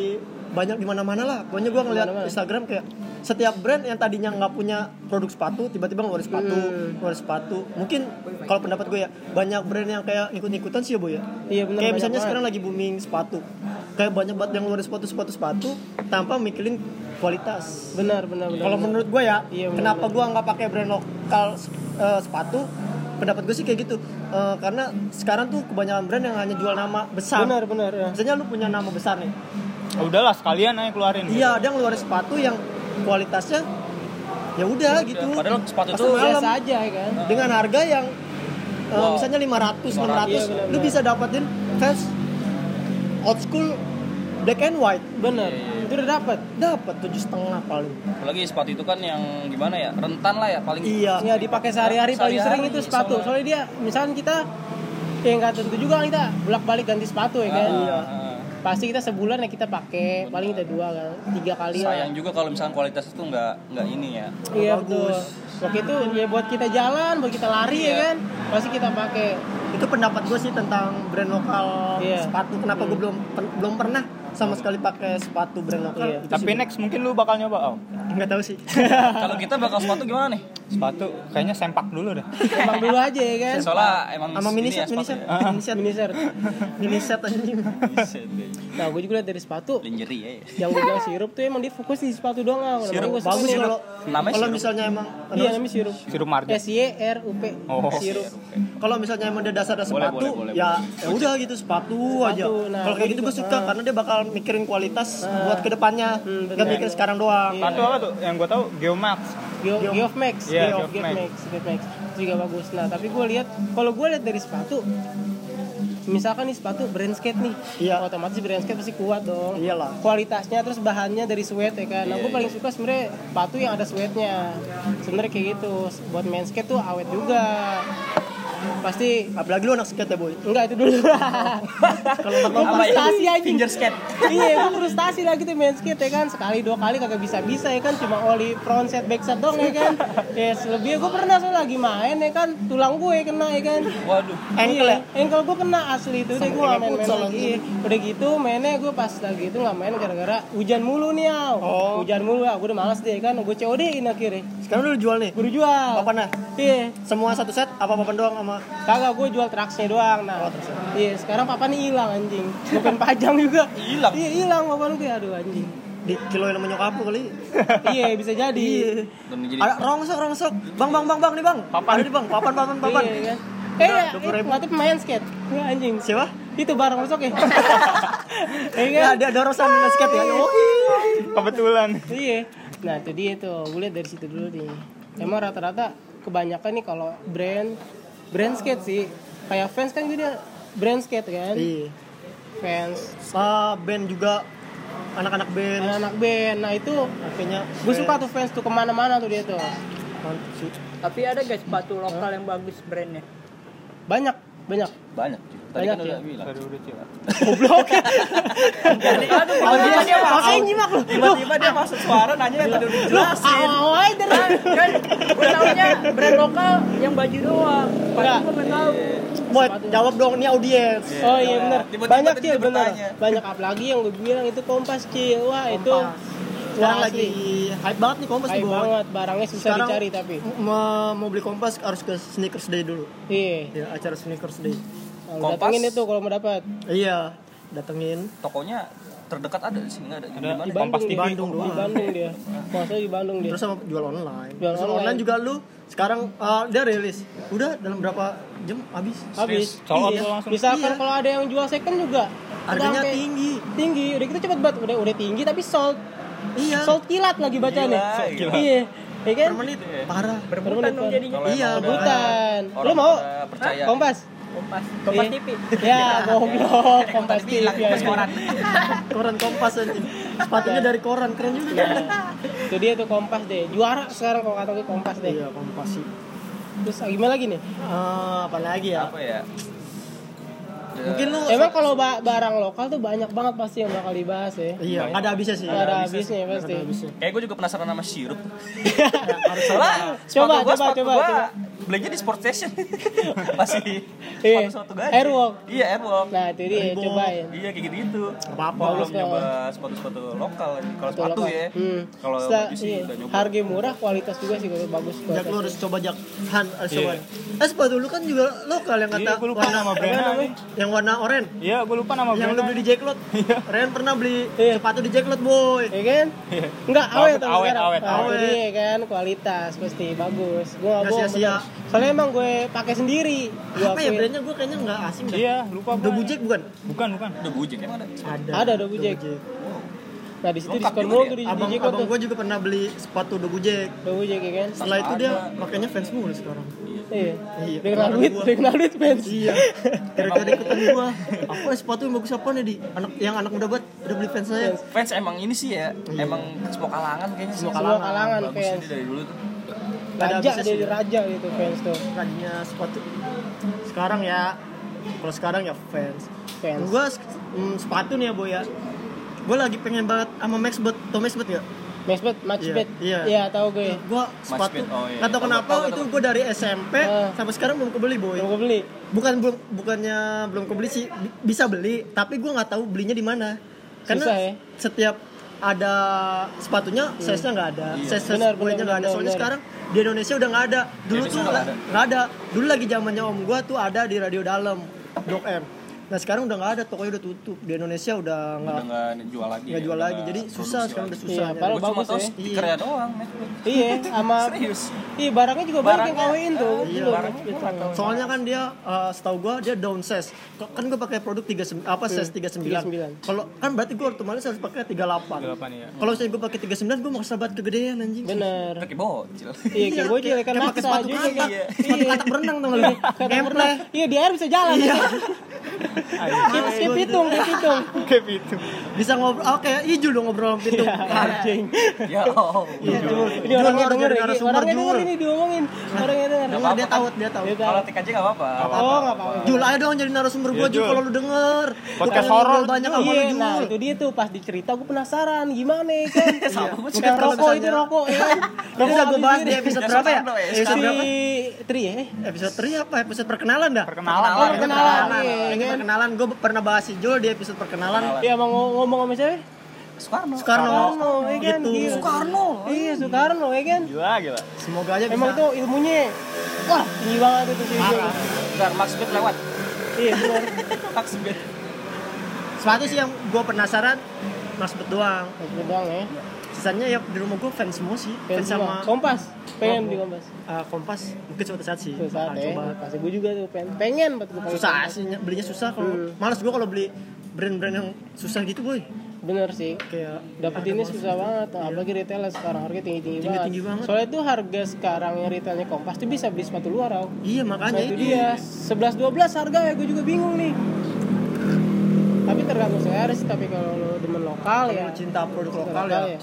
banyak di mana-mana lah. Pokoknya gue ngeliat Dimana-mana. Instagram kayak setiap brand yang tadinya nggak punya produk sepatu tiba-tiba ngeluarin sepatu, Hmm. ngeluarin sepatu. Mungkin kalau pendapat gue ya banyak brand yang kayak ikut-ikutan sih ya bu ya. Iya, bener, Kayak banyak misalnya banget. sekarang lagi booming sepatu. Kayak banyak banget yang ngeluarin sepatu sepatu sepatu tanpa mikirin kualitas. benar benar benar Kalau benar. menurut gue ya, Iya, benar, kenapa gue nggak pakai brand lokal eh, sepatu? Pendapat gue sih kayak gitu, Eh, karena sekarang tuh kebanyakan brand yang hanya jual nama besar. benar benar ya. Misalnya lu punya nama besar nih, Ya udahlah sekalian aja keluarin. iya ada yang ngeluarin sepatu yang kualitasnya ya udah gitu. Padahal sepatu Pas tuh malam, biasa aja ya kan dengan harga yang eh, Wow. misalnya 500, 600, Iya, benar, lu benar. bisa dapetin fans old school black and white benar itu udah dapat dapat tujuh setengah paling. Apalagi sepatu itu kan yang gimana ya? Rentan lah ya paling. Iya. ya dipakai sehari-hari paling sering Sehari-hari, itu sepatu soalnya. soalnya dia misalkan kita ya nggak tentu juga kan kita bolak balik ganti sepatu ya Ah, kan ah, ah. pasti kita sebulan ya kita pakai paling kita dua kan tiga kali iya. lah. Sayang juga kalau misalkan kualitas itu nggak nggak ini ya. Iya betul. Waktu itu ya buat kita jalan, buat kita lari ya kan, pasti kita pakai. itu pendapat gue sih tentang brand lokal Iya. sepatu kenapa gue belum per- belum pernah sama sekali pakai sepatu brand lokal Iya. Itu Tapi sih next mungkin lu bakal nyoba oh. gua nggak tahu sih Kalau kita bakal sepatu gimana nih? Sepatu kayaknya sempak dulu deh. Emang dulu aja ya kan. Soalnya emang Iya. sama mini ini ya set mini set sepatu ya. mini set mini set mini set anjing iya. Nah gue juga lihat dari sepatu, Lingerie ya. yang gue bilang sirup tuh emang dia fokus di sepatu doang. Al. Namanya Sirup. gua suka bagus nih. kalau Namanya kalau sirup. misalnya emang Iya namanya sirup. Sirup marjan. S Y R U P Oh. sirup. kalau misalnya emang dia dasar ada Boleh, sepatu boleh, boleh, ya ya udah gitu sepatu, aja nah, kalau kayak gua gitu juga- gue suka ah. karena dia bakal mikirin kualitas buat kedepannya Hmm, nggak benar. Iya. mikir sekarang doang Sepatu apa tuh? Yang gua tahu Geomax. Geo- Geomax, Iya, Geo- Geof Max. Geof Max, Geof Max. Itu juga bagus. Nah tapi gue lihat, kalau gue lihat dari sepatu, misalkan nih sepatu brand skate nih, Iya. otomatis brand skate pasti kuat dong. Iyalah. Iya, Kualitasnya terus bahannya dari suede ya kan. Nah gue paling suka sebenarnya sepatu yang ada suede-nya. Sebenarnya kayak gitu. Buat main skate tuh awet juga. Pasti apalagi lu anak skate ya boy Enggak itu dulu. Ah. kalau nggak Gua Apa ya? frustasi aja. Finger skate. iya, gue frustasi lagi tuh main skate ya kan. Sekali dua kali kagak bisa-bisa ya kan. Cuma oli front set back set dong ya kan. Ya selebihnya gue pernah soalnya lagi main ya kan. Tulang gue kena ya kan. Iya, Waduh. Ankle ya? Ankle gue kena asli itu deh gue kena main-main futsal lagi. Udah gitu mainnya gue pas lagi itu nggak main gara-gara hujan mulu nih Al. Oh. Hujan mulu ah gue udah malas deh kan. Gue COD in akhirnya. sekarang lu jual nih Gue udah jual. apa nah Iya. semua satu set apa papan doang sama Kagak, gue jual traksnya doang. Oh, Nah, iya sekarang papan hilang anjing. Bukan pajang juga. Hilang? Iya hilang papan gue. Aduh anjing. dikiloin sama nyokap lu kali Iya bisa jadi. Dan jadi ada rongsok rongsok bang bang bang bang nih bang papan nih bang papan papan papan Iya kan. Eh, ya, Udah, eh, 20.000. waktu pemain skate. Wah, anjing. siapa Itu barang masuk ya. ya Iya kan? ada ada rosan dengan skate ya Yoi. Kebetulan. Iya. Nah, itu dia tuh. Gue lihat dari situ dulu nih. Emang rata-rata kebanyakan nih kalau brand brand skate sih kayak fans kan dia brand skate kan. iya Fans ah band juga anak-anak band anak-anak band. Nah, itu akhirnya gue suka tuh fans tuh kemana-mana tuh dia tuh. Mantap sih. Tapi ada guys sepatu lokal yang bagus brandnya. Banyak, banyak. banyak. Tadi Banyak, kan udah ya? bilang. Aduh, udah cewek. Aduh, tiba-tiba dia masuk. Tiba-tiba dia masuk suara nanya yang tadi udah dijelasin. Awai dari Kan gue taunya brand lokal yang baju doang. Padahal gue nggak tahu. Boy, jawab dong ini audiens Oh iya benar. Tiba-tiba Banyak tadi sih benar. bertanya. Banyak apalagi yang gue bilang itu kompas sih. Wah itu Kompas. sekarang Wah, lagi hype banget nih kompas nih baik boy banget barangnya susah Sekarang dicari tapi. mau mau beli kompas harus ke sneakers day dulu Iya. ya acara sneakers day Nah, Kompas. Datengin itu kalau mau dapat. iya datengin Tokonya terdekat ada di sini nggak ada? Di mana? ya? Di Kompas Bandung TV. dia. Di Bandung doang. Bandung dia. Maksudnya di Bandung dia. terus sama jual online Jual Terus online. online. juga lu sekarang eh, dia rilis udah dalam berapa jam habis Habis. Sold out Iya. tuh langsung. Misalkan Iya. kalau ada yang jual second juga harganya udah sampai tinggi tinggi. Udah kita cepet banget. Udah udah tinggi tapi sold. iya Sold kilat lagi bacanya. Gila, Sold gila. Iya. Iya kan? per menit parah Berbutan dong jadinya. Kalau Iya, emang udah Rebutan. orang Lu mau? pada percaya. Kompas. Kompas, kompas Iya. TV. Ya, goblok. Kompas TV. ya. koran kompas aja sepatunya Iya. dari koran keren juga Itu dia tuh kompas deh. Juara sekarang kalau kata gue kompas deh. iya kompas sih Terus ah, gimana lagi nih? Eh, apa lagi ya Apa ya? Mungkin lu Emang kalau ba- barang lokal tuh banyak banget pasti yang bakal dibahas ya. Iya, nggak ada habisnya sih. Nggak ada habisnya pasti. Kayak gue juga penasaran sama sirup. Salah. Coba, sepatu gua, coba, sepatu coba, gua coba. Belinya di sport station. Masih Iya. sepatu-sepatu gajah. Airwalk. Iya, airwalk. Nah, itu dia cobain. Iya kayak gitu-gitu. apa-apa. Gua Belum Bagus nyoba kalau- sepatu-sepatu lokal. Kalau sepatu lokal. ya. Hmm. Kalau Setelah- baju sih iya. udah nyoba. Harga murah, kualitas juga sih kalau bagus. Jak lu kualitas. harus coba Jak Han harus coba. Eh sepatu lu kan juga lokal yang kata Iya, gua lupa nama apa brandnya namanya? Yang warna oranye. Iya, gue lupa nama Yang lu brandnya. beli di Jacklot. Ren pernah beli Iya. sepatu di Jacklot, boy. Iya kan? Enggak, awet Awet, tuh awet, sekarang. awet, Nah, itu awet. dia kan kualitas pasti bagus. Gua Nggak enggak bohong. sia-sia. bener. Soalnya emang gue pakai sendiri. Iya, Gua Apa ya akuin. brandnya gue kayaknya nggak asing dah. Iya, lupa Udah brandnya. bujek bukan? Bukan, bukan. Udah bujek emang ada. Ada. Ada ada bujek. Nah, di situ Lengkap diskon juga mulu dia. tuh di di Abang Jeko abang tuh. gue juga pernah beli sepatu udah bujek. Ada bujek ya kan? Setelah itu Ada. dia makanya fans mulu sekarang. Iya. Iya. Dia kenal duit, Gua. dia kenal duit fans. Iya. Gara-gara ikutan gua. Apa sepatu yang bagus apa nih di anak yang anak muda buat udah beli fans saya. Fans emang ini sih ya, emang semua kalangan kayaknya sih. Hmm. Semua kalangan Bagus fans. ini dari dulu tuh. Nggak ada ya? Raja habisnya dia sih. di raja gitu fans tuh. Tadinya sepatu. Sekarang ya kalau sekarang ya fans. Fans. Gua sek- mm, sepatu nih ya boy ya. Gue lagi pengen banget sama Max Bot, tau Max Bot gak? Matchbet, matchbet. Iya. Iya, tahu gue. Gue sepatu, Bot, oh iya. nggak tau Tahu, kenapa tahu, tahu, itu tahu. gue dari SMP Eh. sampai sekarang belum kebeli ya. boy. Belum gue beli. Bukan belum, bukannya belum kebeli sih, bi- bisa beli, tapi gue nggak tahu belinya di mana. Karena Susah ya. Hmm. setiap ada sepatunya size-nya nggak ada, size Iya. size Benar, boy-nya benar, nggak ada. benar, Soalnya benar. sekarang di Indonesia udah nggak ada. Dulu tuh Indonesia nggak ada. nggak ada. Dulu lagi zamannya om gue tuh ada di radio dalam, Blok M. Nah sekarang udah nggak ada, tokonya udah tutup. Di Indonesia udah nggak Udah nggak jual lagi. nggak ya, jual udah lagi. nggak Jadi produksi susah sekarang lagi. udah susah. Iya, ya. padahal Gua cuma bagus tahu ya. stikernya doang, Netflix. Iya, sama Serius. Iya, barangnya juga banyak yang Barangnya, kawin tuh. iya, Belum, barangnya belum. gua nggak tahu. Soalnya kan dia eh, setahu gua dia downsize. Ko- Kan gua pakai produk 39 apa Hmm, size 39. 39. Kalau kan berarti gua otomatis harus pakai 38. 38 iya. Kalau saya gua pakai 39 gua maksa banget kegedean anjing. Iya, Bener. Kayak bocil. Iya, kayak gue juga kan kayak pakai maksa sepatu juga katak. kan. Sepatu katak berenang tuh lu. Kata pernah, Gameplay. iya di air bisa jalan. Iya. Skip, skip hitung, skip hitung. Kayak itu. Bisa ngobrol oke, Iju dong ngobrol sama Iya. pintu. Anjing. Ya Allah. Iya. Ini orangnya Jual, denger, jadi ya, Ki. narasumber, orangnya jual. denger ini diomongin. Orangnya denger. Nggak Dia apa-apa, tahu, dia tahu. Dia tahu. Kalau TKJ nggak apa-apa. Oh, nggak apa-apa. Jul ayo dong jadi narasumber gua Iya, Jul Jul. kalau lu denger. Podcast Jangan horor, ngobrol banyak sama lu Iya, nah Jul. itu dia tuh pas dicerita gue penasaran gimana ya kan. Sama gua juga. Bukan kalau rokok itu misalnya- rokok ya kan. Ini udah gue bahas di dia episode Ya, berapa ya? eh, sekarang dong, ya, Episode Si berapa? Tri ya. eh? Episode 3 apa? Episode perkenalan dah? Perkenalan. Perkenalan. Pak. Perkenalan. iya, perkenalan. Ini kan? perkenalan. Gue pernah bahas si Jul di episode perkenalan. Iya mau ngomong ngomong sama siapa? Soekarno. Soekarno. Soekarno, ya kan? Gitu. Gila. Soekarno. Iya, Soekarno ya kan. Gila, gila. Semoga aja bisa. Emang itu ilmunya wah tinggi banget itu sih. Parah. Bentar, Max Bed lewat. Iya benar. Max Bed. Sepatu sih yang gue penasaran Mas Bet doang. Itu doang ya. Sisanya ya di rumah gue fans semua sih. Fans, Fans sama sama Kompas. Pengen di Kompas. eh, Kompas. Mungkin suatu saat eh. sih. Suatu saat ya. bakal Ah, coba. Pasti gue juga tuh pengen. Pengen buat gue pakai Susah Kompas. sih ny- belinya susah kalau Hmm. males gue kalau beli brand-brand yang susah gitu boy. Bener sih. Kayak Dapetinnya ada males. susah banget, apalagi retailnya sekarang harganya tinggi-tinggi banget. Tinggi-tinggi banget. Soalnya itu harga sekarang yang retailnya Kompas tuh bisa beli sepatu luar, Rau. Iya makanya Nah, itu itu. dia 11 12 harga ya gue juga bingung nih. Tapi tergantung selera sih, tapi kalau lo demen lokal Kalau ya lu cinta produk lokal lokal ya ya.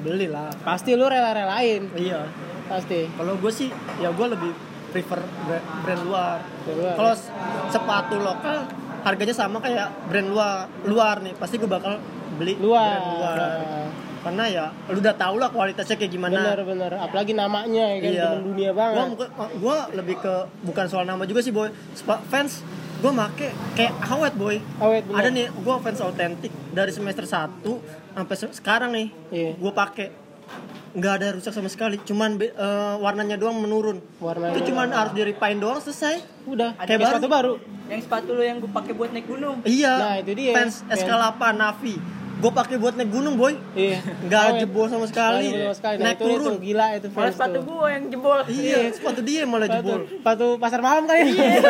belilah. pasti lo rela-relain, Iya. pasti. Kalau gue sih ya gue lebih prefer bra- brand luar. Brand luar. Kalau s- sepatu lokal harganya sama kayak brand luar luar nih pasti gue bakal beli Luar. brand luar. Nah, Karena ya lu udah tau lah kualitasnya kayak gimana. Bener-bener, apalagi namanya ya kan demen dunia banget. Iya. Gua, muka- gua lebih ke bukan soal nama juga sih boy. Spa- fans gue make kayak awet boy. Awet bener. Ada nih gue fans autentik dari semester 1 sampai se- sekarang nih. Iya. Gue pakai nggak ada rusak sama sekali, cuman be- eh, warnanya doang menurun. Warnanya itu cuman harus di repaint doang selesai. Udah, Ada kayak baru. sepatu baru. Yang sepatu lo yang gue pakai buat naik gunung. Iya. Nah, itu dia. Fans Fans. SK8 Navi. Gue pakai buat naik gunung boy. Iya. Awet. Nggak jebol sama sekali. Nggak jebol sama sekali. Nah, Naik itu dia turun. tuh, gila itu Malah fans sepatu tuh. gue yang jebol. Iya, sepatu dia yang malah Sepatu, jebol. sepatu pasar malam kali. Iya.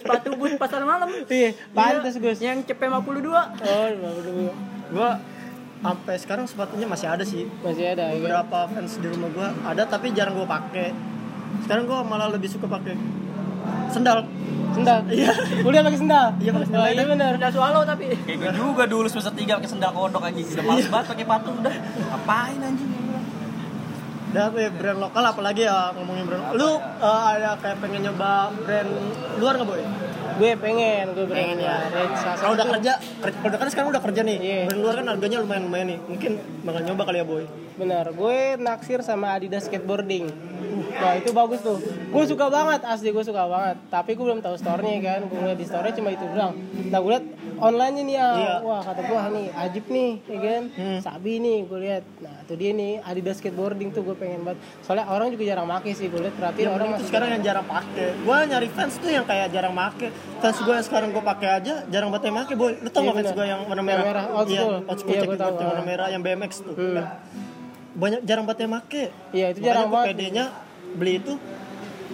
sepatu boot pasar malam. Iya, pantas Gus. Yang CP52. Oh, 52. Gue sampai sekarang sepatunya masih ada sih. Masih ada ya. kan? beberapa fans di rumah gua ada tapi jarang gua pakai sekarang gua malah lebih suka pakai sendal Sendal. Iya. Kuliah pakai sendal. Iya, pakai sendal. Oh, iya benar. Udah swallow tapi. Kayak gue juga dulu semester 3 pakai sendal kodok anjing. Udah males banget pakai patung udah. Ngapain anjing? dan apa ya, brand lokal apalagi ya ngomongin brand lu eh, ada kayak pengen nyoba brand luar nggak boy gue pengen gue pengen ya kalau udah kerja kerja- kalau udah kan sekarang udah kerja nih Iya. brand luar kan harganya lumayan lumayan nih mungkin bakal nyoba kali ya boy bener gue naksir sama Adidas skateboarding Wah itu bagus tuh Gue suka banget Asli gue suka banget Tapi gue belum tahu store-nya kan Gue liat di store-nya cuma itu doang Nah gue liat online-nya nih ya Iya. Hmm. Wah kata gue nih Ajib nih ya kan Sabi nih gue liat Nah itu dia nih Adidas skateboarding tuh gue pengen banget Soalnya orang juga jarang make sih Gue liat berarti yang orang orang itu masih sekarang yang jarang pakai gua nyari fans tuh yang kayak jarang make fans gua yang sekarang gua pakai aja jarang banget yang make boy lu tau Iya, nggak fans bener. gua yang warna Yang merah merah, old iya school. old school Iya, cek gua tahu, yang warna ah. merah yang BMX tuh Nah, Hmm. banyak jarang banget yang make Iya, itu jarang Makanya gua banget. PD-nya beli itu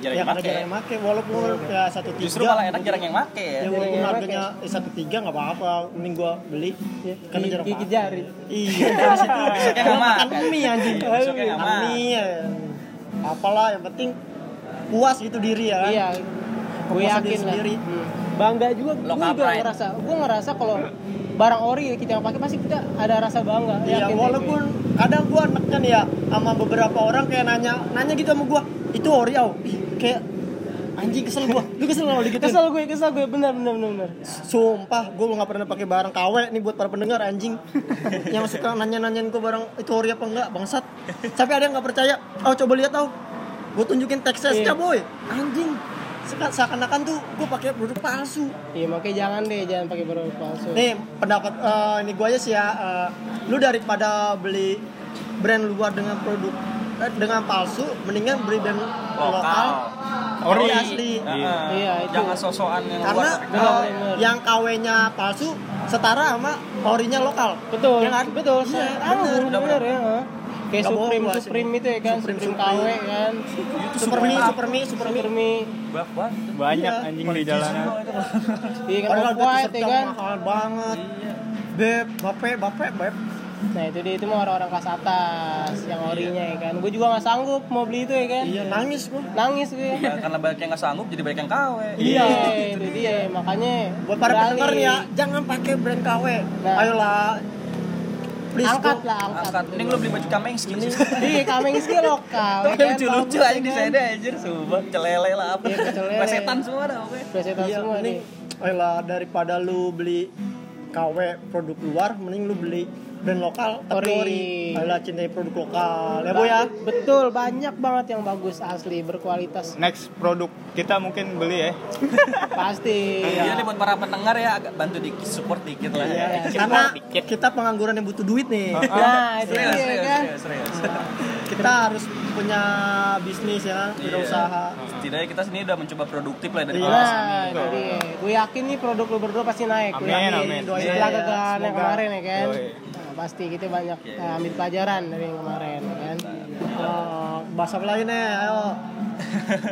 Jarang ya yang karena make. Iya. jarang yang make walaupun ya satu tiga Justru malah enak jarang yang make ya. Ya Jarang walaupun yang harganya satu tiga nggak apa-apa, mending gua beli Iya. Di- karena kan- jarang gigit pakai. jari. Iya, habis itu Besoknya gua nggak makan makan. mie anjing. Iya, besoknya nggak Makan makan. mie. ya. Apalah yang penting puas gitu diri ya kan. Iya Gue Kepuasan yakin diri lah sendiri. Hmm. Bangga juga Lo Gue juga ngapain? ngerasa Gue ngerasa kalau Barang ori yang kita pakai Pasti kita ada rasa bangga Iya, Yakin deh walaupun kadang gua neknya nih ya sama beberapa orang kayak nanya nanya gitu sama gua, itu ori au. Ih, Kayak anjing kesel gua. Lu kesel kalau gue. gitu? Kesel gue Kesel gue Bener bener bener, bener. Sumpah, gue nggak pernah pakai barang KW nih buat para pendengar anjing. yang suka nanya-nanyain gue barang itu ori apa enggak, bangsat. Tapi ada yang nggak percaya. Oh, coba lihat tau. Gue tunjukin teksnya Iya. boy. Anjing. Seka- Seakan-akan tuh gue pakai produk palsu. Iya makanya jangan deh Jangan pakai barang palsu Nih, pendapat eh, ini gue aja sih ya. eh, lu daripada beli brand luar dengan produk eh, dengan palsu, mendingan beli brand lokal. Lokal. Ori Nah. asli. Iya, itu. Jangan sosokan yang Karena luar. Benar, eh, benar. yang KW-nya palsu setara sama orinya lokal. Betul, Ya kan? betul. Iya, Saya tahu, bener. bener, ya. ha. Kayak Nggak bohong Supreme, gua sih. Supreme itu ya kan, Supreme, Supreme, KW Supreme. kan. Supermi, Supermi, Supermi. Supermi, Bak bak. Banyak anjing di jalanan. iya kan Padahal Off White dia t-shirt ya yang kan. mahal banget. Beb, bape, bape, beb. Nah itu dia, itu mah orang-orang kelas atas yang orinya ya kan. Gue juga nggak sanggup mau beli itu ya kan. Iya, nangis gua. Nangis gue. Ya, karena banyak yang nggak sanggup jadi banyak yang kawe. Iya, itu dia makanya. Buat para beralih. pendengar nih ya, jangan pakai brand KW. Nah. Ayolah. Please Angkat gua- lah, angkat. Angkat. Mending lu beli baju kameng skin. Iya, kameng sih lokal. ya Tapi kan, lucu-lucu bagus, aja di ya kan. sana anjir, sumpah celele lah apa. Iya, kecelele. Resetan semua dah oke. Presetan Iya, semua nih. mending ayolah daripada lu beli KW produk luar, mending lu beli brand lokal tapi Ori. ori. Ayolah cintai produk lokal. Ya, Bu ya. Betul, banyak banget yang bagus asli, berkualitas. Next produk kita mungkin beli ya. Pasti. Iya nih buat para pendengar ya agak bantu dikit support dikit lah. ya. Dikit, Karena dikit. kita Ah. pengangguran yang butuh duit nih. Nah, itu Serius, dia serius, kan. serius, serius. kita harus punya bisnis ya, Iya. berusaha. Setidaknya kita sendiri udah mencoba produktif lah dari Oh, Iya. awal. Nah, itu dia. Gue yakin nih produk lu berdua pasti naik. Gue Amin, yakin. amin. Iya, Doain Setelah aja ya, kegagalan yang semoga. kemarin ya kan. Yoi. Nah, pasti kita banyak Iya, eh, ambil pelajaran dari yang kemarin ya kan. Eh, bahas apa lagi nih? Ayo.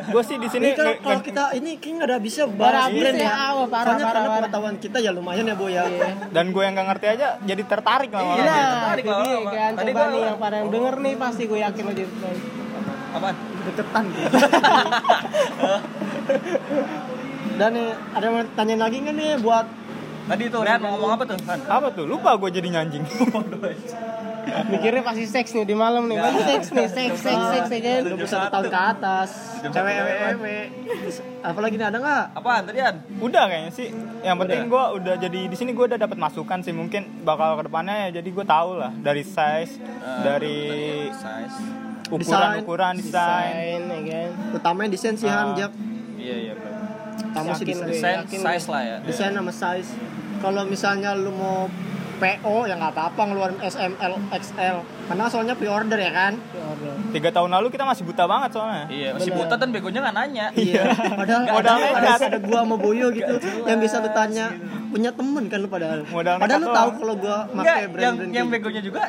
Gue sih di Ini sini kalau, nge- Iya, kalau nge- kita ini kayaknya nggak ada habisnya Parah bahas habis brand ya, ya. awal, parah, Soalnya parah, karena parah. pengetahuan kita ya lumayan ya, Bu ya. dan gue yang nggak ngerti aja jadi tertarik lama-lama. Nah, tertarik itu lama-lama. dia kan. iya. Tadi Coba gua- nih yang pada yang denger nih pasti gue yakin lo jadi terbaik. Apaan? Deketan. Dan nih, ada yang mau tanyain lagi nggak nih buat Tadi tuh Rehan mau ngomong apa tuh? Han? Apa tuh? Lupa gue jadi nyanjing. Mikirnya pasti seks nih di malam nih. Pasti seks nih, seks, seks, seks ya kan. 21 tahun ke atas, cewek cewek Apalagi nih ada nggak? Apaan tadi Han? udah kayaknya sih. Yang penting gue udah jadi di sini gue udah dapat masukan sih mungkin bakal kedepannya ya jadi gue tahu lah dari size, Ah, Eh, dari size. ukuran-ukuran desain. Lain ya kan. Utamanya desain sih Han, Ah. Jack. Iya iya. bener. Utama sih Yakin desain. gue. Desain yakin. size lah ya. desain sama size kalau misalnya lu mau PO ya nggak apa-apa ngeluarin SML XL karena soalnya pre-order ya kan Tiga tahun lalu kita masih buta banget soalnya. Iya, masih buta dan begonya nggak nanya. iya padahal Modal padahal harus nekat. ada gua sama Boyo gitu yang bisa lu tanya punya temen kan lu padahal Modal padahal nekat lu tahu doang. kalau gua Enggak, pakai yang brand brand yang begonya juga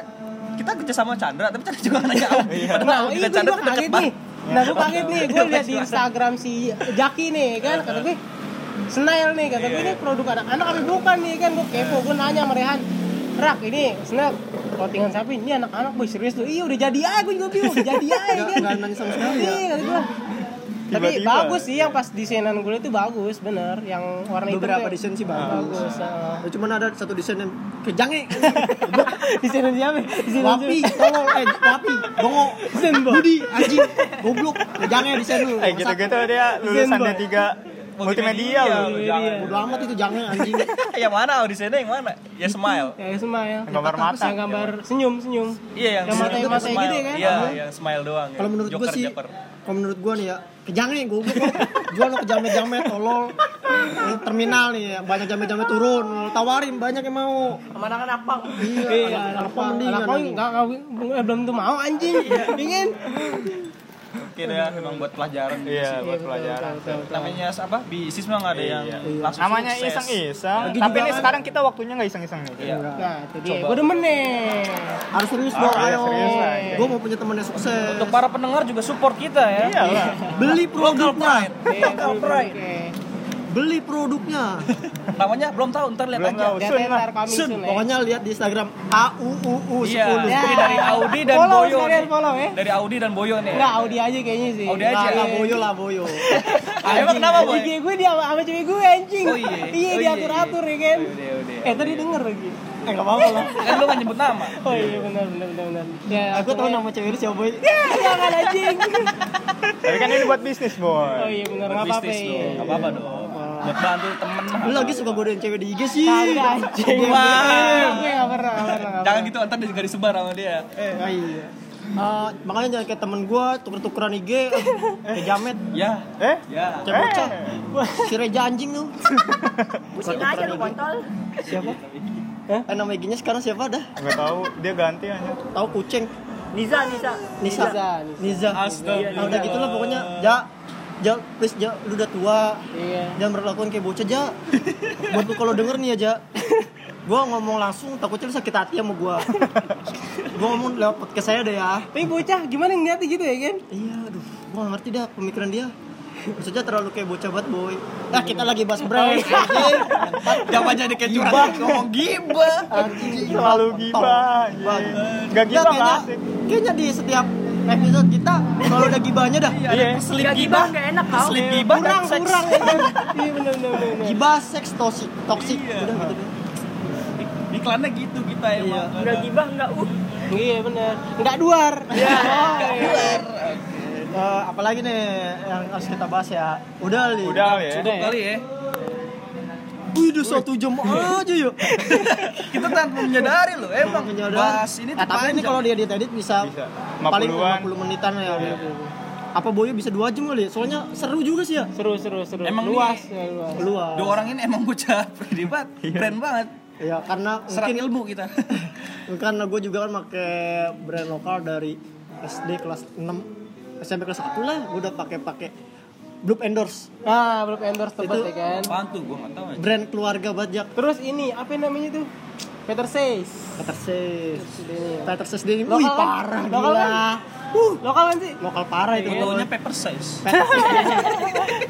kita kerja sama Chandra, tapi Chandra juga nggak nanya. Nah, Padahal itu gue kita Chandra tuh kaget deket nih. banget. Nah, gue kaget nih. Gue lihat di Instagram si Jaki nih, kan. Kata gue, Snail nih. Kata Iya, gue, ini produk anak-anak apa bukan nih, kan. Gue kepo, gue nanya sama Rehan. Rak, ini Snail. Clothingan sapi, ini anak-anak boy serius tuh. Iya, udah jadi aja. Gue juga bingung, udah jadi aja, kan. nggak nanya sama sekali ya Iya, kata gue. Tapi Tiba-tiba. bagus sih yang pas desainan gue itu bagus, bener. Yang warna hitam beberapa tuh desain sih bagus Bagus. ah. Ya, cuman ada satu desain yang kejange Desainan siapa? Desainan wapi tolol eh wapi bongo budi anjing goblok kejange desain lu gitu kan. Eh Iya, gitu-gitu dia lulusan Zen boy. D3 multimedia iya. loh. Jangan. Bodo amat itu jangan anjing. yang mana audisennya yang mana? Ya smile. Ya, ya smile. Yang gambar mata. Yang gambar senyum, senyum. Iya yang Yang smile itu mata-mata smile. gitu ya kan? Iya, Aha. yang smile doang. ya. Kalau menurut gue Joker, sih, Joker. kalau menurut gue nih ya, kejange gue jual lo ke jamet-jamet tolol. Ini Terminal nih ya, banyak jamet-jamet turun, Lo tawarin banyak yang mau. sama anak-anak pang Iya, Iya, apa Iya. apa mendingan. kan Kenapa enggak kawin? Eh, belum tuh mau anjing. Dingin. Oke deh, ya, memang buat pelajaran. Iya, buat pelajaran. Namanya apa? Bisnis memang nggak ada yang langsung Namanya sukses. iseng-iseng. Tapi ini sekarang kita waktunya nggak iseng-iseng nih. Iya. Nah, itu dia. Gue demen nih. Harus serius Ah, dong, iya, ayo. serius lah, iya. Gue mau punya temen yang sukses. Untuk para pendengar juga support kita ya. Iya lah. Beli produknya, Local pride. Oke. beli produknya. Namanya belum tahu, ntar lihat Belum aja. tahu. Lihat Sun aja lah. ntar kami Oh, Sun. sun. ya. Pokoknya lihat di Instagram AUUU 10. Iya, ini dari Audi dan Follow Boyo. sekalian, nih. follow ya. Dari Audi dan Boyo nih. Enggak, Audi aja kayaknya sih. eh. Audi Nah, aja. lah boyo lah boyo. Ya, Ah, Emang kenapa, Boy? IG gue dia sama cewek gue anjing. Oh, iya. Oh, iya, diatur-atur ya kan. Udah, udah. Iya. Eh, tadi denger lagi. Eh enggak apa-apa lah. Kan lu nggak nyebut nama. Oh iya benar benar benar benar. Iya, Ya, Aku tahu nama cewek lu siapa boy. Jangan anjing. Tapi kan ini buat bisnis, Oh boy. iya benar enggak apa-apa. Bisnis iya. dong, nggak apa-apa dong. Buat bantu temen. Lu lagi suka godain cewek di IG sih. Kagak anjing. Wah. Gue enggak pernah, nggak pernah. nggak Jangan gitu, ntar dia juga disebar sama dia. Ah, iya. Eh, makanya jangan kayak temen gue tuker-tukeran IG eh, kayak jamet Ya, Eh? ya. kayak bocah si Reja anjing tuh pusing aja lu kontol eh, nama IG-nya sekarang siapa dah Nggak tahu, dia ganti aja. tahu kucing Niza Niza Nisa Niza, Niza Astagfirullah. Nah, udah gitu lah pokoknya ja ja please ja lu udah tua pernah. Iya. jangan berlakuan kayak bocah ja buat lu kalau denger nih ya ja gue ngomong langsung takutnya lu sakit hati sama gue gue ngomong lewat podcast saya deh ya Tapi bocah gimana ngeliatnya gitu ya kan? Iya, aduh, gua gak ngerti dah pemikiran dia. Maksudnya terlalu kayak bocah banget, boy. Nah, kita lagi bahas brand. anjing. Jangan jadi kayak curhat, ngomong gibah. Anjing, Selalu kontol. gibah. Gibah. anjing. Nggak Gila, gibah kayaknya, nggak asik. kayaknya di setiap episode kita selalu ada gibahnya dah. Iya. Selip Gak gibah. gibah gak enak kau Selip gibah dan Kurang seks. kurang ya kan? Iya benar benar benar, benar. Gibah, seks, toksik, toksik. Iya. Udah gitu deh. Ik- Iklannya gitu kita emang. Gak gibah gak uh Iya benar. Enggak duar. Iya. Oh, Eh, apalagi nih yang harus kita bahas ya. Udah, Li. Udah kali ya. Udah ya. Kali ya. Wih, udah satu jam aja ya. Kita tanpa menyadari loh, emang Menyadari. bahas ini Eh, tuh tapi ini panjang. kalau dia edit bisa, Bisa. paling 50-an. 50 menitan ya. Apa Boyo bisa dua jam kali? ya? Soalnya seru juga sih ya. Seru seru seru. Emang luas, ya, nih- luas. Luas. Dua orang ini emang bocah predibat, Iya. keren banget. Ya karena Serap mungkin ilmu kita. karena gue juga kan pakai brand lokal dari SD kelas 6 SMP kelas 1 lah gue udah pakai pakai Blue Endorse Ah, belum endorse tempat Itu- ya kan. Apaan tuh gua enggak tahu. aja. brand keluarga banget ya Terus ini apa namanya tuh? Peter Says. Peter Says Ini. Peter Says Denim ya. Lokal wih kan? parah Lokal gila kan? uh Lokal kan sih? lokal parah itu Fotonya paper size. iya. Peter Says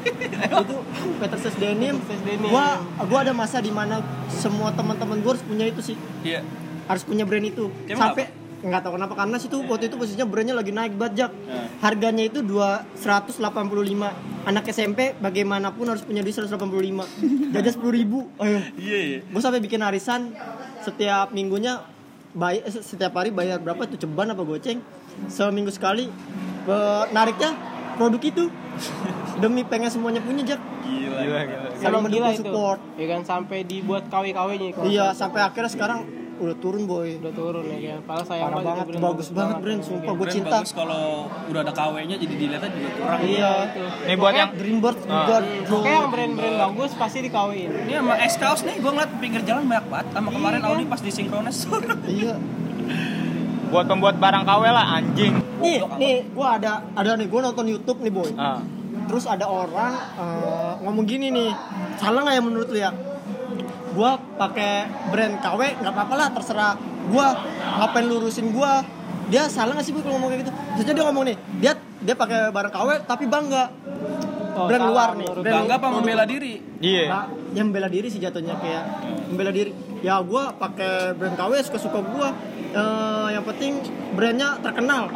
Denim. itu Peter Says Denim Peter Says Denim. gua gua ada masa di mana semua teman-teman gue harus punya itu sih Iya. harus punya brand itu Emang sampai nggak tahu kenapa karena situ waktu itu posisinya brandnya lagi naik banget Jak. Nah. harganya itu dua 185 anak SMP bagaimanapun harus punya duit 185 jadi 10.000 ribu Iya, iya. gue sampai bikin arisan setiap minggunya bay- eh, setiap hari bayar berapa tuh ceban apa goceng seminggu sekali eh, nariknya produk itu demi pengen semuanya punya jak Gila, gila. gila. Saling Emang gila mendukung itu. support. Ya kan sampai dibuat KW-KW-nya kalau iya sampai akhirnya sekarang udah turun boy udah turun ya kan. Padahal sayang banget, parah ya, banget brand bagus banget brand sumpah gue Brand cinta bagus kalau udah ada KW-nya jadi dilihatnya juga kurang. iya Ah. Ini buat yang Dreambird juga bro. kan. Kayak yang brand-brand bagus pasti dikawin. Ini sama S Kaos nih, gua ngeliat pinggir jalan banyak banget. Sama kemarin Iya. Audi pas di sinkronis. Iya. buat pembuat barang KW lah anjing. Nih, nih gua ada ada nih gua nonton YouTube nih, Boy. Ah. Terus ada orang eh, ngomong gini nih. Salah nggak ya menurut lu ya? Gua pakai brand KW nggak apa-apa lah terserah gua ngapain lurusin gua. Dia salah nggak sih Bu kalau ngomong kayak gitu? Terus dia ngomong nih, dia dia pakai barang KW tapi bangga. Oh, brand salah luar nih. menurut Brand Bangga apa membela diri? Iya. Nah, yang bela diri sih jatuhnya kayak membela diri. Ya gua pakai brand KW suka suka gua. Eh, yang penting brandnya terkenal.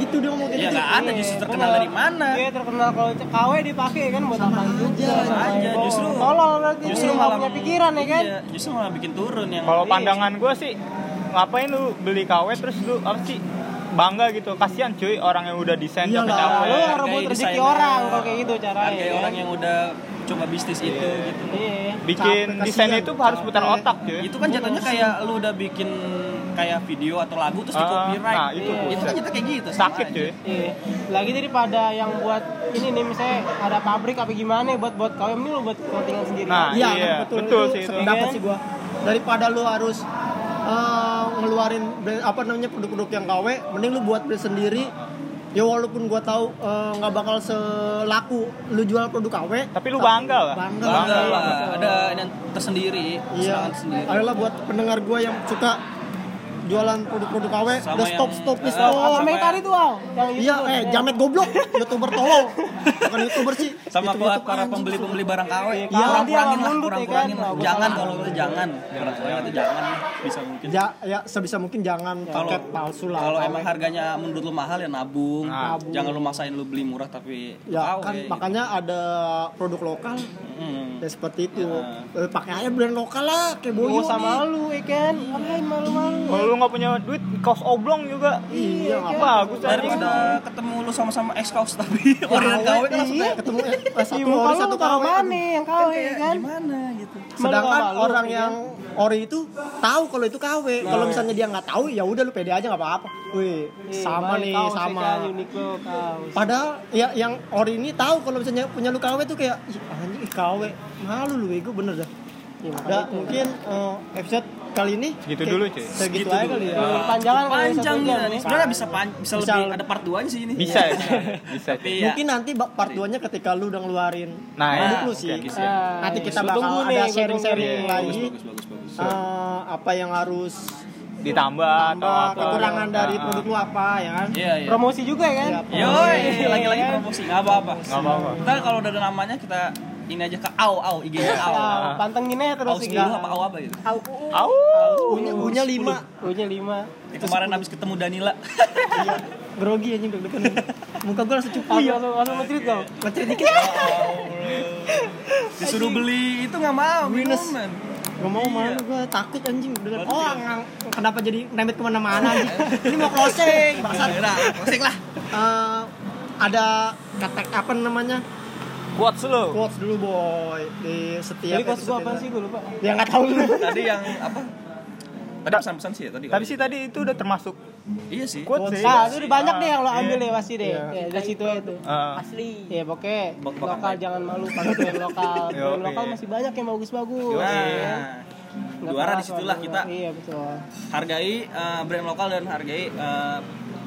Gitu dia ngomong Ya gitu. nggak ada justru Iya, terkenal bener. dari mana. Iya, terkenal kalau c- KW dipakai kan buat apa juga. Sama aja, Oh, justru tolol berarti justru dia nggak malah punya pikiran ya kan. Iya, justru malah bikin turun yang Kalau pandangan gue iya sih ngapain lu beli KW terus lu apa sih bangga gitu kasihan cuy orang yang udah desain Iya jaket lah, KW Nah, lu Hargai ngerebut rezeki desainer. orang kalau kayak gitu caranya. hargai ya. orang yang udah coba bisnis itu gitu Iya. bikin Capek, desain kasihan. itu harus putar Capek. otak cuy itu kan jatuhnya kayak lu udah bikin kayak video atau lagu terus di Ah, copyright nah, itu itu buset. kan jatuh kayak gitu sama sakit aja. cuy Iya. Lagi daripada yang buat ini nih misalnya ada pabrik apa gimana ya, buat buat kau ini lu buat kepentingan sendiri. nah Iya, iya betul, betul itu sih itu sependapat Iya. sih gua. Daripada lu harus eh, ngeluarin brand- apa namanya produk-produk yang KW, mending lu buat brand sendiri. Ya walaupun gua tahu eh, nggak bakal selaku lu jual produk KW, tapi lu bangga lah bangga. bangga bangga. lah ada yang tersendiri Iya. serangan sendiri Ayolah buat pendengar gua yang suka jualan produk-produk KW, Sama udah yang- stop stop nih eh, stop. Oh, sama yang Sama- ya? tadi tuh Al, yang kan Iya, YouTube. eh jamet goblok, youtuber tolol, bukan youtuber sih. sama YouTuber buat para anjing pembeli semua. pembeli barang KW Iya, kurang dia kurangin lah mundut, ya kurang kan? kurangin lah iya, Bagus. jangan kalau lu jangan barang KW itu jangan Iya. bisa mungkin Ya, ya sebisa mungkin jangan kalau paket palsu lah. kalau KW. emang harganya menurut lu mahal ya nabung Nah. Nabung. jangan lu maksain lu beli murah tapi ya KW, kan gitu. makanya ada produk lokal Mm. ya seperti itu Nah. Eh, pakai aja brand lokal lah kayak Boyo boyo Iya, sama nih. lu, ya kan? Ngapain malu-malu? kalau lu nggak punya duit kaos oblong juga iya Wah, apa bagus anjing daripada ketemu lu sama-sama ex kaos tapi orderan KW kan langsung iya kayak ketemu eh, satu Muka ori lu satu lu taruh KW. mana yang kau ya kan? gimana gitu sedangkan Malu sama lu, Nah. orang iya. yang ori itu tahu kalau itu KW kalau misalnya dia nggak tahu ya udah lu pede aja nggak apa-apa wih Iya, sama baik, nih kaos, ya sama kan? Uniqlo kaos. Padahal ya yang ori ini tahu kalau misalnya punya lu KW tuh kayak Ih, anjing ih, KW malu lu bego bener dah. Iya, makanya Udah, itu. mungkin eh, episode kali ini Segitu kayak Gitu dulu, Nah. cuy. Segitu, aja kali ya. Oh, Panjangan kali satu panjang jam nih nih. sebenarnya bisa pan- bisa Bisa lebih lebih. ada part 2 sih ini bisa ya bisa cuy. Iya. Mungkin nanti bak- part 2-nya ketika lu udah ngeluarin nah produk ya lu sih. Eh, oke, oke, siap. Ah, Nanti kita gua bakal tunggu nih, ada gua sharing-sharing tunggu nih. lagi bagus bagus bagus eh, apa yang harus ditambah atau tambah, apa kekurangan dari Nah, produk lu apa ya kan? iya iya Promosi juga ya kan? Iya. Yoi, lagi-lagi promosi, nggak apa-apa. nggak apa-apa Ntar kalau udah ada namanya kita ini aja ke au au Iya. IG-nya au. Ah, pantengin aja terus Au ya sendiri apa au apa gitu. Au. Au. Punya punya 5 Punya lima. Ya, kemarin habis ketemu Danila. grogi anjing deg-degan. Muka gua langsung cupu Iya, ya. langsung langsung nge-tweet kau. Macet dikit. Disuruh beli itu nggak mau, Minus. minuman. Gak mau malu gue Iya, takut anjing dengan oh iya. ngang- kenapa jadi nembet kemana-mana anjing ini mau closing bangsat Nah, closing lah. Eh, ada kata apa namanya quotes lu quotes dulu boy di setiap Jadi quotes gua apa sih episode. gua lupa. ya nggak tahu lu Tadi yang apa? Tadi pesan-pesan sih ya tadi. tapi sih tadi itu udah termasuk Iya sih. Ah. quotes sih Nah, itu udah banyak deh yang lo Iya. ambil deh pasti deh. Ya, dari situ aja tuh. Eh, Asli. Ya pokoknya Bak-bakan lokal aja. jangan malu pakai brand lokal. Brand Yoi. lokal masih banyak yang bagus-bagus. Iya. Nah, Nggak juara keras disitulah warna. kita Iya betul. hargai eh, brand lokal dan hargai eh,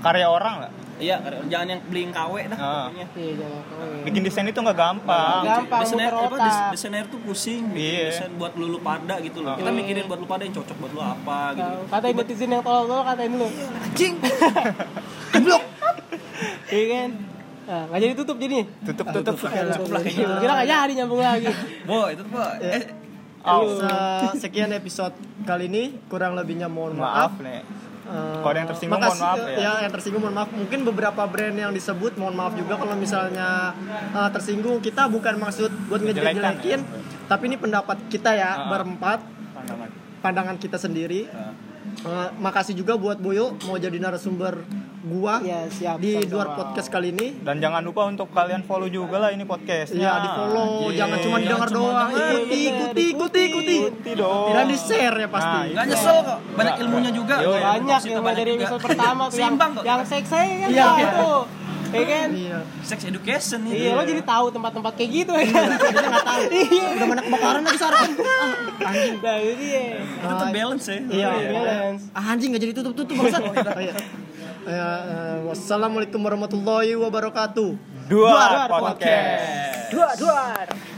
karya orang lah iya jangan yang beliin KW dah Ah. pokoknya. Iya jangan Nah, malu. bikin desain itu nggak gampang Gampang desainer muter apa otak. des- desainer tuh pusing bikin Iya. Ah. desain buat lu, lu pada gitu loh. Kita mikirin buat lu pada yang cocok buat lu apa gitu. Nah, Katain netizen yang tolol-tolol katain dulu. Anjing. Iya kan? Nah, nggak jadi tutup jadinya. tutup tutup Cukup lah kayaknya. Iya, Kita nggak jadi nyambung lagi. Boy, itu tuh, Boy. Eh, Iya. Oh. Se- sekian episode kali ini kurang lebihnya mohon maaf maaf nih Eh, Kalau ada yang tersinggung, mohon makasih- eh, maaf ya. yang tersinggung mohon maaf. Mungkin beberapa brand yang disebut mohon maaf juga kalau misalnya eh, tersinggung. Kita bukan maksud buat Menjelekan, ngejelekin, ya. tapi ini pendapat kita ya Ah. berempat, pandangan pandangan kita sendiri. Ah. Eh, makasih juga buat Boyo mau jadi narasumber gua Ya, siap, di sama-sama. luar podcast kali ini. Dan jangan lupa untuk kalian follow juga lah ini podcast. Ya di follow, jangan cuma didengar doang. Ikuti, ikuti, ikuti, ikuti. Ikuti dong. Dan di share ya pasti. Iya. Nah, Gak nyesel kok, banyak Nggak, ilmunya nggak. juga. Yo, Banyak Banyak informasi yang banyak dari juga. episode pertama tuh yang Seimbang kok. yang seks saya kan Iya. tahu itu. Iya kan? Iya. Sex education nih. Iya, lo jadi tahu tempat-tempat kayak gitu ya kan? nggak tahu. Iya. Udah mana kebakaran lagi saran. Ah, anjing. Nah, jadi ya. Itu tuh balance ya. Iya, balance. Ah, anjing gak jadi tutup-tutup bangsat. Oh, iya. Ya, eh, wassalamualaikum warahmatullahi wabarakatuh. Dua Dua podcast. Dua, dua.